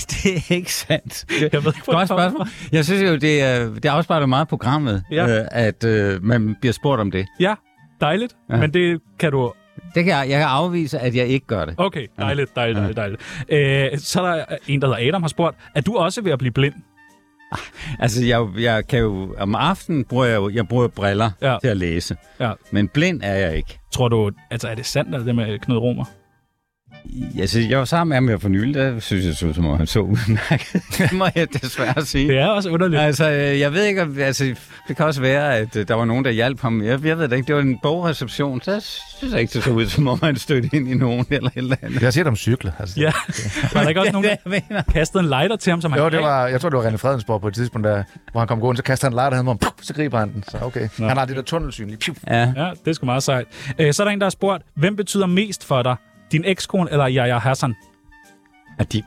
S4: det er ikke sandt.
S1: Jeg ved ikke, hvor det
S4: Godt
S1: kommer
S4: spørgsmål. Jeg synes jo, det, er, det afspejler meget programmet,
S1: Ja.
S4: ja. øh, at øh, man bliver spurgt om det.
S1: Ja, dejligt. Ja.
S4: Ja.
S1: Men det kan du...
S4: Det kan jeg, jeg kan afvise, at jeg ikke gør det.
S1: Okay, dejligt, dejligt, dejligt. dejligt. Øh, så er der en, der hedder Adam, har spurgt, er du også ved at blive blind?
S4: Altså, jeg, jeg kan jo... Om aftenen bruger jeg jo jeg bruger briller
S1: Ja.
S4: ja. til at læse.
S1: Ja.
S4: Men blind er jeg ikke.
S1: Tror du, altså er det sandt, at det med Knud Romer?
S4: Altså, jeg var sammen med ham her for nylig, der synes jeg, så, som om han så udmærket. det må jeg desværre sige.
S1: Det er også underligt.
S4: Altså, øh, jeg ved ikke, om, altså, det kan også være, at øh, der var nogen, der hjalp ham. Jeg, jeg ved det ikke, det var en bogreception, så synes jeg ikke, det så ud, som om han stødte ind i nogen eller et eller andet.
S2: Jeg har set dem cykle. Altså.
S1: Ja, var der ikke også nogen, der
S4: jeg mener.
S1: kastede en lighter til ham, som han
S2: Jo, det
S1: greb?
S2: var, jeg tror, det var René Fredensborg på et tidspunkt, der, hvor han kom gående, så kaster han lejder, han mod ham, Puff, så griber han den. Så okay.
S1: Nå.
S2: Han har det der tunnelsyn lige. Piu.
S4: Ja.
S1: Ja, det er sgu meget sejt. Øh, så er der en, der har spurgt, hvem betyder mest for dig? Din ekskone eller Yahya Hassan?
S4: Og de,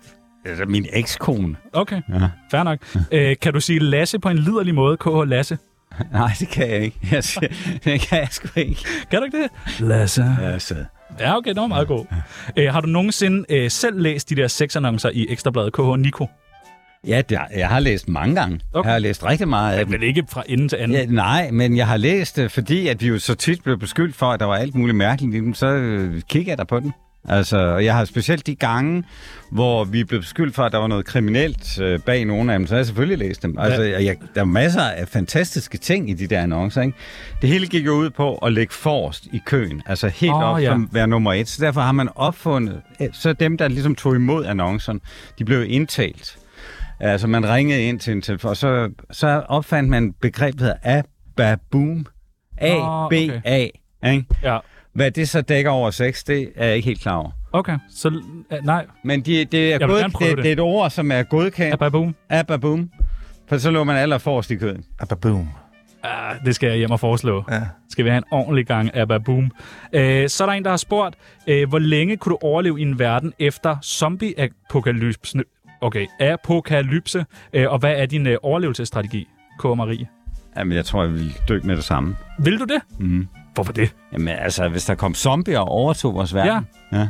S4: altså, min ekskone.
S1: Okay,
S4: Ja.
S1: fair nok. Øh, kan du sige Lasse på en liderlig måde, KH Lasse?
S4: Nej, det kan jeg ikke. Jeg, siger- det kan jeg sgu ikke.
S1: Kan du ikke det? Lasse.
S4: Altså.
S1: Ja, okay, det var meget god. Øh, har du nogensinde øh, selv læst de der sexannoncer i Ekstrabladet KH Nico?
S4: Ja, det, jeg har læst mange gange.
S1: Okay.
S4: Okay. Jeg har læst rigtig meget af dem.
S1: Men ikke fra ende til anden.
S4: Ja, nej, men jeg har læst det, fordi at vi jo så tit blev beskyldt for, at der var alt muligt mærkeligt i dem, så øh, kigger jeg da på den. Altså, og jeg har specielt de gange, hvor vi blev beskyldt for, at der var noget kriminelt øh, bag nogle af dem, så har jeg selvfølgelig læst dem. Altså, jeg, jeg, der er masser af fantastiske ting i de der annoncer, ikke? Det hele gik jo ud på at ligge forrest i køen, altså helt
S1: Åh,
S4: oh, op
S1: ja.
S4: ja. som være nummer et. Så derfor har man opfundet, øh, så dem, der ligesom tog imod annoncen, de blev indtalt. Altså, man ringede ind til en telefon, og så, så opfandt man begrebet der ABABOOM.
S1: Åh, okay.
S4: A-B-A. ikke?
S1: Ja,
S4: Hvad det så dækker over sex, det er jeg ikke helt klar over.
S1: okay. Så, øh, nej,
S4: Men de, det, er
S1: vil
S4: god,
S1: gerne
S4: det,
S1: prøve
S4: det.
S1: det.
S4: det er et ord, som er godkendt.
S1: Ababoom.
S4: ABABOOM. For så lå man aller forrest i køden.
S2: Abba, boom.
S1: Ah, det skal jeg hjem og foreslå. Ja. Skal vi have en ordentlig gang af baboom. Øh, så er der en, der har spurgt, øh, hvor længe kunne du overleve i en verden efter zombie-apokalypse? Okay, apokalypse. Øh, og hvad er din øh, overlevelsesstrategi, K. Marie?
S4: Jamen, jeg tror, jeg ville dø med det samme.
S1: Vil du det?
S4: Mm.
S1: Hvorfor det?
S4: Jamen, altså, hvis der kom zombier og overtog vores verden.
S1: Ja.
S4: ja.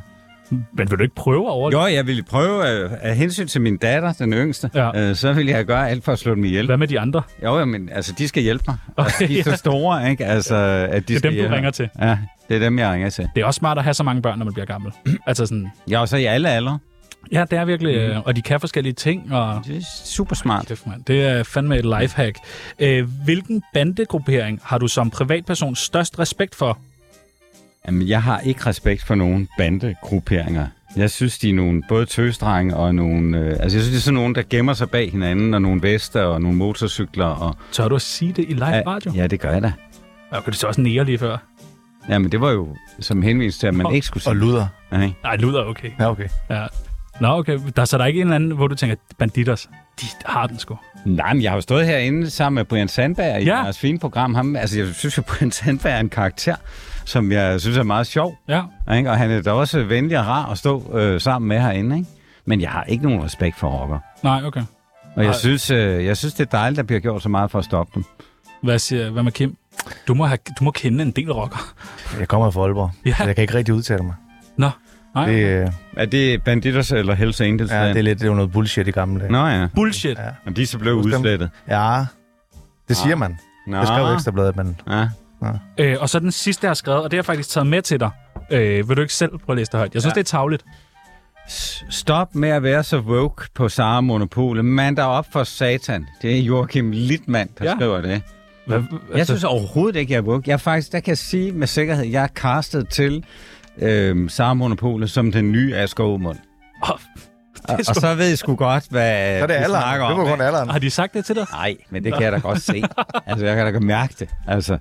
S1: Men vil du ikke prøve at overleve?
S4: Jo, jeg ville prøve, øh, af hensyn til min datter, den yngste,
S1: Ja.
S4: ja. øh, så ville jeg gøre alt for at slå dem ihjel.
S1: Hvad med de andre?
S4: Jo, jo, men altså, de skal hjælpe mig. Altså, de er så store, ikke? Altså, at de
S1: Det er
S4: skal
S1: dem, du
S4: hjælpe mig.
S1: ringer til.
S4: Ja, det er dem, jeg ringer til.
S1: Det er også smart at have så mange børn, når man bliver gammel. altså sådan,
S4: Jeg er jo så i alle aldre.
S1: ja, det er virkelig...
S4: Mm-hmm.
S1: Øh, og de kan forskellige ting, og...
S4: Det er super smart.
S1: Kæft, mand. Det er fandme et lifehack. Øh, hvilken bandegruppering har du som privatperson størst respekt for?
S4: Jamen, jeg har ikke respekt for nogen bandegrupperinger. Jeg synes, de er nogle både tøsdrenge og nogle... Øh, altså, jeg synes, det er sådan nogen, der gemmer sig bag hinanden, og nogle vester og nogle motorcykler. Og,
S1: Tør du at sige det i live radio?
S4: ja, det gør jeg da.
S1: Ja. Okay, det så også nære lige før.
S4: Jamen, det var jo som henvist til, at man
S1: Og-
S4: ikke skulle
S2: Og
S4: sige...
S2: luder.
S4: Nej.
S1: Nej, luder okay.
S2: Ja, okay.
S1: Ja. Nå, okay. Der, så der er ikke en eller anden, hvor du tænker, banditers, de har den sgu.
S4: Nej, men jeg har jo stået herinde sammen med Brian Sandberg i
S1: Ja.
S4: ja. deres fine program. Ham, altså, jeg synes jo, Brian Sandberg er en karakter, som jeg synes er meget sjov.
S1: Ja.
S4: Ikke? Og han er da også venlig og rar at stå øh, sammen med herinde. Ikke? Men jeg har ikke nogen respekt for rocker.
S1: Nej, okay.
S4: Og
S1: Nej.
S4: jeg synes, øh, jeg synes, det er dejligt, at der bliver gjort så meget for at stoppe dem.
S1: Hvad, siger, hvad med Kim? Du må, have, du må kende en del rocker.
S2: Jeg kommer fra Aalborg,
S1: Ja.
S2: så jeg kan ikke rigtig udtale mig.
S1: Nå, nej.
S2: Det,
S1: Det...
S2: øh,
S4: Er det Banditers eller Hells Angels?
S2: ja, det er lidt det var noget bullshit i gamle dage.
S4: Nå ja,
S1: Bullshit.
S2: Ja.
S4: Jamen, de er så blevet
S2: Husk dem.
S4: udslettet.
S2: Ja, det siger man.
S4: Nå.
S2: Det skrev Ekstrabladet, men
S4: Ja.
S1: Øh, og så den sidste, jeg har skrevet, og det har jeg faktisk taget med til dig. Øh, vil du ikke selv prøve at læse det højt? Jeg synes, ja.
S4: Ja.
S1: det er tavligt.
S4: S- Stop med at være så woke på Sara Monopole. Mand, der er op for satan. Det er Joachim Littmann, der
S1: Ja.
S4: ja. skriver det.
S1: Hvad,
S4: Jeg synes overhovedet ikke, jeg er woke. Jeg er faktisk, der kan jeg sige med sikkerhed, jeg er castet til øh, Sara Monopolet som den nye Asger Aumund.
S1: altså, Åh,
S4: Og, og så ved jeg sgu godt, hvad
S2: så er det
S4: vi
S2: alderen.
S4: snakker
S2: Det var
S4: om.
S2: kun
S4: ikke?
S2: alderen.
S1: har de sagt det til dig?
S4: Nej, men det kan jeg da godt se. Altså, jeg kan da godt mærke det. Altså,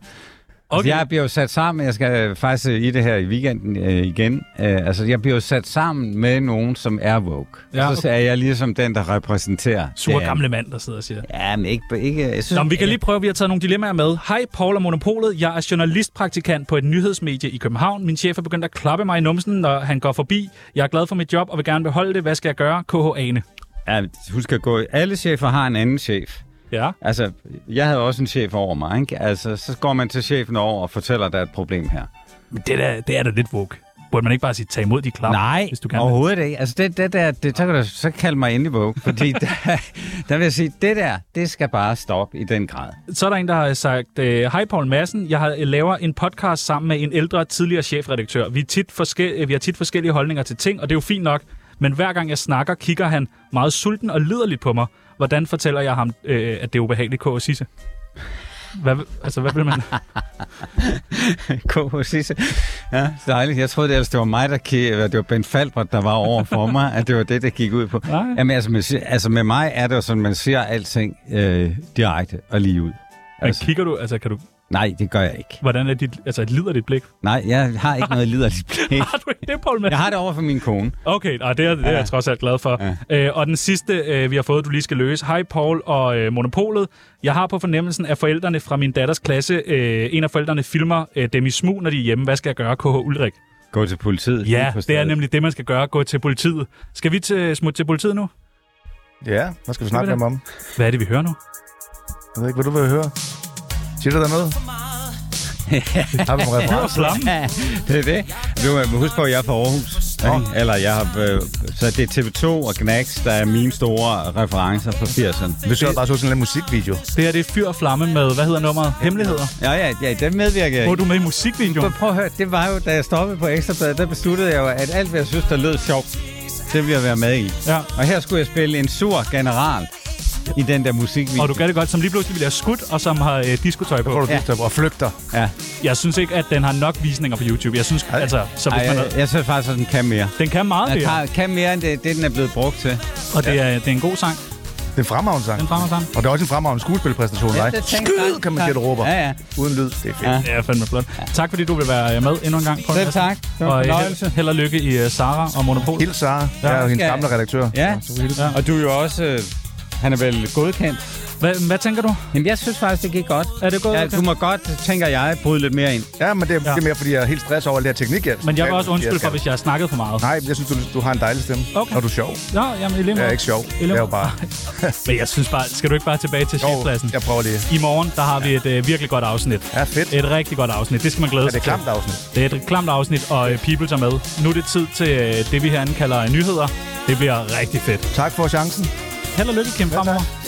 S1: Okay.
S4: okay. Jeg bliver jo sat sammen, jeg skal øh, faktisk øh, i det her i weekenden øh, igen, øh, altså jeg bliver jo sat sammen med nogen, som er woke.
S1: Ja,
S4: Ja, okay. Så er jeg ligesom den, der repræsenterer.
S1: Sur
S4: det
S1: gamle mand, der sidder og siger.
S4: Ja, men ikke... ikke jeg synes,
S1: Nå, men vi kan lige prøve, vi har taget nogle dilemmaer med. Hej, Paul og Monopolet. Jeg er journalistpraktikant på et nyhedsmedie i København. Min chef er begyndt at klappe mig i numsen, når han går forbi. Jeg er glad for mit job og vil gerne beholde det. Hvad skal jeg gøre? KH Ane.
S4: Ja, husk at gå... Alle chefer har en anden chef.
S1: Ja.
S4: Altså, jeg havde også en chef over mig, ikke? Altså, så går man til chefen over og fortæller, at der er et problem her.
S1: Men det, der, det er da lidt woke. Burde man ikke bare sige, tag imod de klap?
S4: Nej,
S1: hvis du kan.
S4: overhovedet ikke. Altså, det, det der, det, så kan du så kalde mig endelig våg, fordi der, der vil jeg sige, det der, det skal bare stoppe i den grad.
S1: Så er der en, der har sagt, øh, Hej Paul Madsen, jeg har- øh, laver en podcast sammen med en ældre tidligere chefredaktør. Vi, er tit forske- øh, vi har tit forskellige holdninger til ting, og det er jo fint nok. Men hver gang jeg snakker, kigger han meget sulten og liderligt på mig. Hvordan fortæller jeg ham, øh, at det er ubehageligt, K. og Sisse? Hvad, vil- altså, hvad vil man...
S4: K.H. Sisse. Ja, dejligt. Jeg troede ellers, det var mig, der ki- eller det var Ben Falbert, der var over for mig, at det var det, der gik ud på.
S1: Nej.
S4: Jamen, altså, man siger, altså, med mig er det jo sådan, man ser alting øh, direkte og lige ud.
S1: Men
S4: Altså,
S1: kigger du, altså kan du...
S4: nej, det gør jeg ikke.
S1: Hvordan er dit... Altså, lider dit blik?
S4: Nej, jeg har ikke noget liderligt blik.
S1: Har du ikke det, Paul Madsen?
S4: Jeg har det over for min kone.
S1: Okay, nej, det, er, det er jeg trods alt glad for. Ja. Øh, og den sidste, øh, vi har fået, du lige skal løse. Hej Paul og øh, Monopolet. Jeg har på fornemmelsen, at forældrene fra min datters klasse, øh, en af forældrene filmer øh, dem i smug, når de er hjemme. Hvad skal jeg gøre, KH Ulrik?
S4: Gå til politiet. lige
S1: Ja,
S4: på
S1: det er
S4: stedet.
S1: nemlig det, man skal gøre. Gå til politiet. Skal vi til, smutte til politiet nu?
S2: Ja, hvad skal vi snakke med ham om?
S1: Hvad er det, vi hører nu?
S2: Jeg ved ikke, hvad du vil høre. Siger du der noget? Har vi en reference?
S1: Flammen.
S4: det er det. Du må huske på, at jeg er fra Aarhus. ikke? Eller jeg har, øh, så det er TV2 og Gnax, der er mine store referencer fra 80'erne.
S2: Hvis jeg bare så sådan en eller anden musikvideo.
S1: Det her det er Fyr og Flamme med, hvad hedder nummeret? Hemmeligheder.
S4: Ja, ja, ja, det medvirker jeg
S1: Hvor er
S4: i.
S1: du med i musikvideoen?
S4: Prøv- Prøv at høre, det var jo, da jeg stoppede på Ekstrabladet, der besluttede jeg jo, at alt, hvad jeg synes, der lød sjovt, det vil jeg være med i.
S1: Ja.
S4: Og her skulle jeg spille en sur general i den der musikvideo.
S1: Og du gør det godt, som lige pludselig bliver skudt, og som har øh, diskotøj på.
S2: Hvor du
S4: Ja.
S2: ja. og flygter.
S4: Ja.
S1: Jeg synes ikke, at den har nok visninger på YouTube. Jeg synes, altså, så
S4: Ej,
S1: hvis man...
S4: jeg, jeg synes faktisk, at den kan mere.
S1: Den kan meget, det
S4: Den
S1: her.
S4: kan, kan mere end det, det, den er blevet brugt til.
S1: Og det er, det er en god sang.
S2: Det er en fremragende sang.
S1: Den fremmer sammen.
S2: Og det er også en fremragende skuespilpræstation, nej?
S4: det tænker jeg.
S2: Skyd, kan man sige, det råber.
S4: Ja, ja.
S2: Uden lyd. Det er fedt.
S4: Ja.
S1: Det er fandme flot. Tak fordi du vil være med endnu en gang. Poul
S4: Selv
S1: Madsen.
S4: tak. Det var
S1: Og
S4: en
S1: øh,
S4: fornøjelse.
S1: held, held og lykke i uh, Sara og Monopol.
S2: Hils Sara. Jeg er jo hendes
S4: skal-
S2: gamle redaktør.
S4: Ja,
S1: Ja.
S4: og du er jo også... Øh, han er vel godkendt.
S1: Hvad, hvad tænker du?
S4: Jamen, jeg synes faktisk, det gik godt.
S1: Er det gået?
S4: Ja,
S1: okay?
S4: du må godt, tænker jeg, bryde lidt mere ind.
S2: Ja, men det er, det er mere, fordi jeg er helt stress over al det her teknik. Jeg
S1: Men jeg vil også undskylde for,
S2: skal.
S1: hvis jeg har snakket for meget.
S2: Nej, men jeg synes, du, du har en dejlig stemme.
S1: Okay.
S2: Og du er sjov.
S1: Nå, jamen, i lige
S2: Jeg er
S1: måde.
S2: ikke sjov.
S1: I lige
S2: Jeg er jo
S1: måde.
S2: bare...
S1: Men jeg synes bare, skal du ikke bare tilbage til
S2: Jo,
S1: chefpladsen?
S2: jeg prøver lige.
S1: I morgen, der har vi et øh, virkelig godt afsnit.
S2: Ja, fedt.
S1: Et rigtig godt afsnit. Det skal man glæde
S2: Er
S1: sig
S2: det
S1: til.
S2: klamt afsnit?
S1: Det er et klamt afsnit, og øh, People tager med. Nu er det tid til øh, det, vi herinde kalder øh, nyheder. Det bliver rigtig fedt.
S2: Tak for chancen.
S1: Held og lykke, Kim, fremover.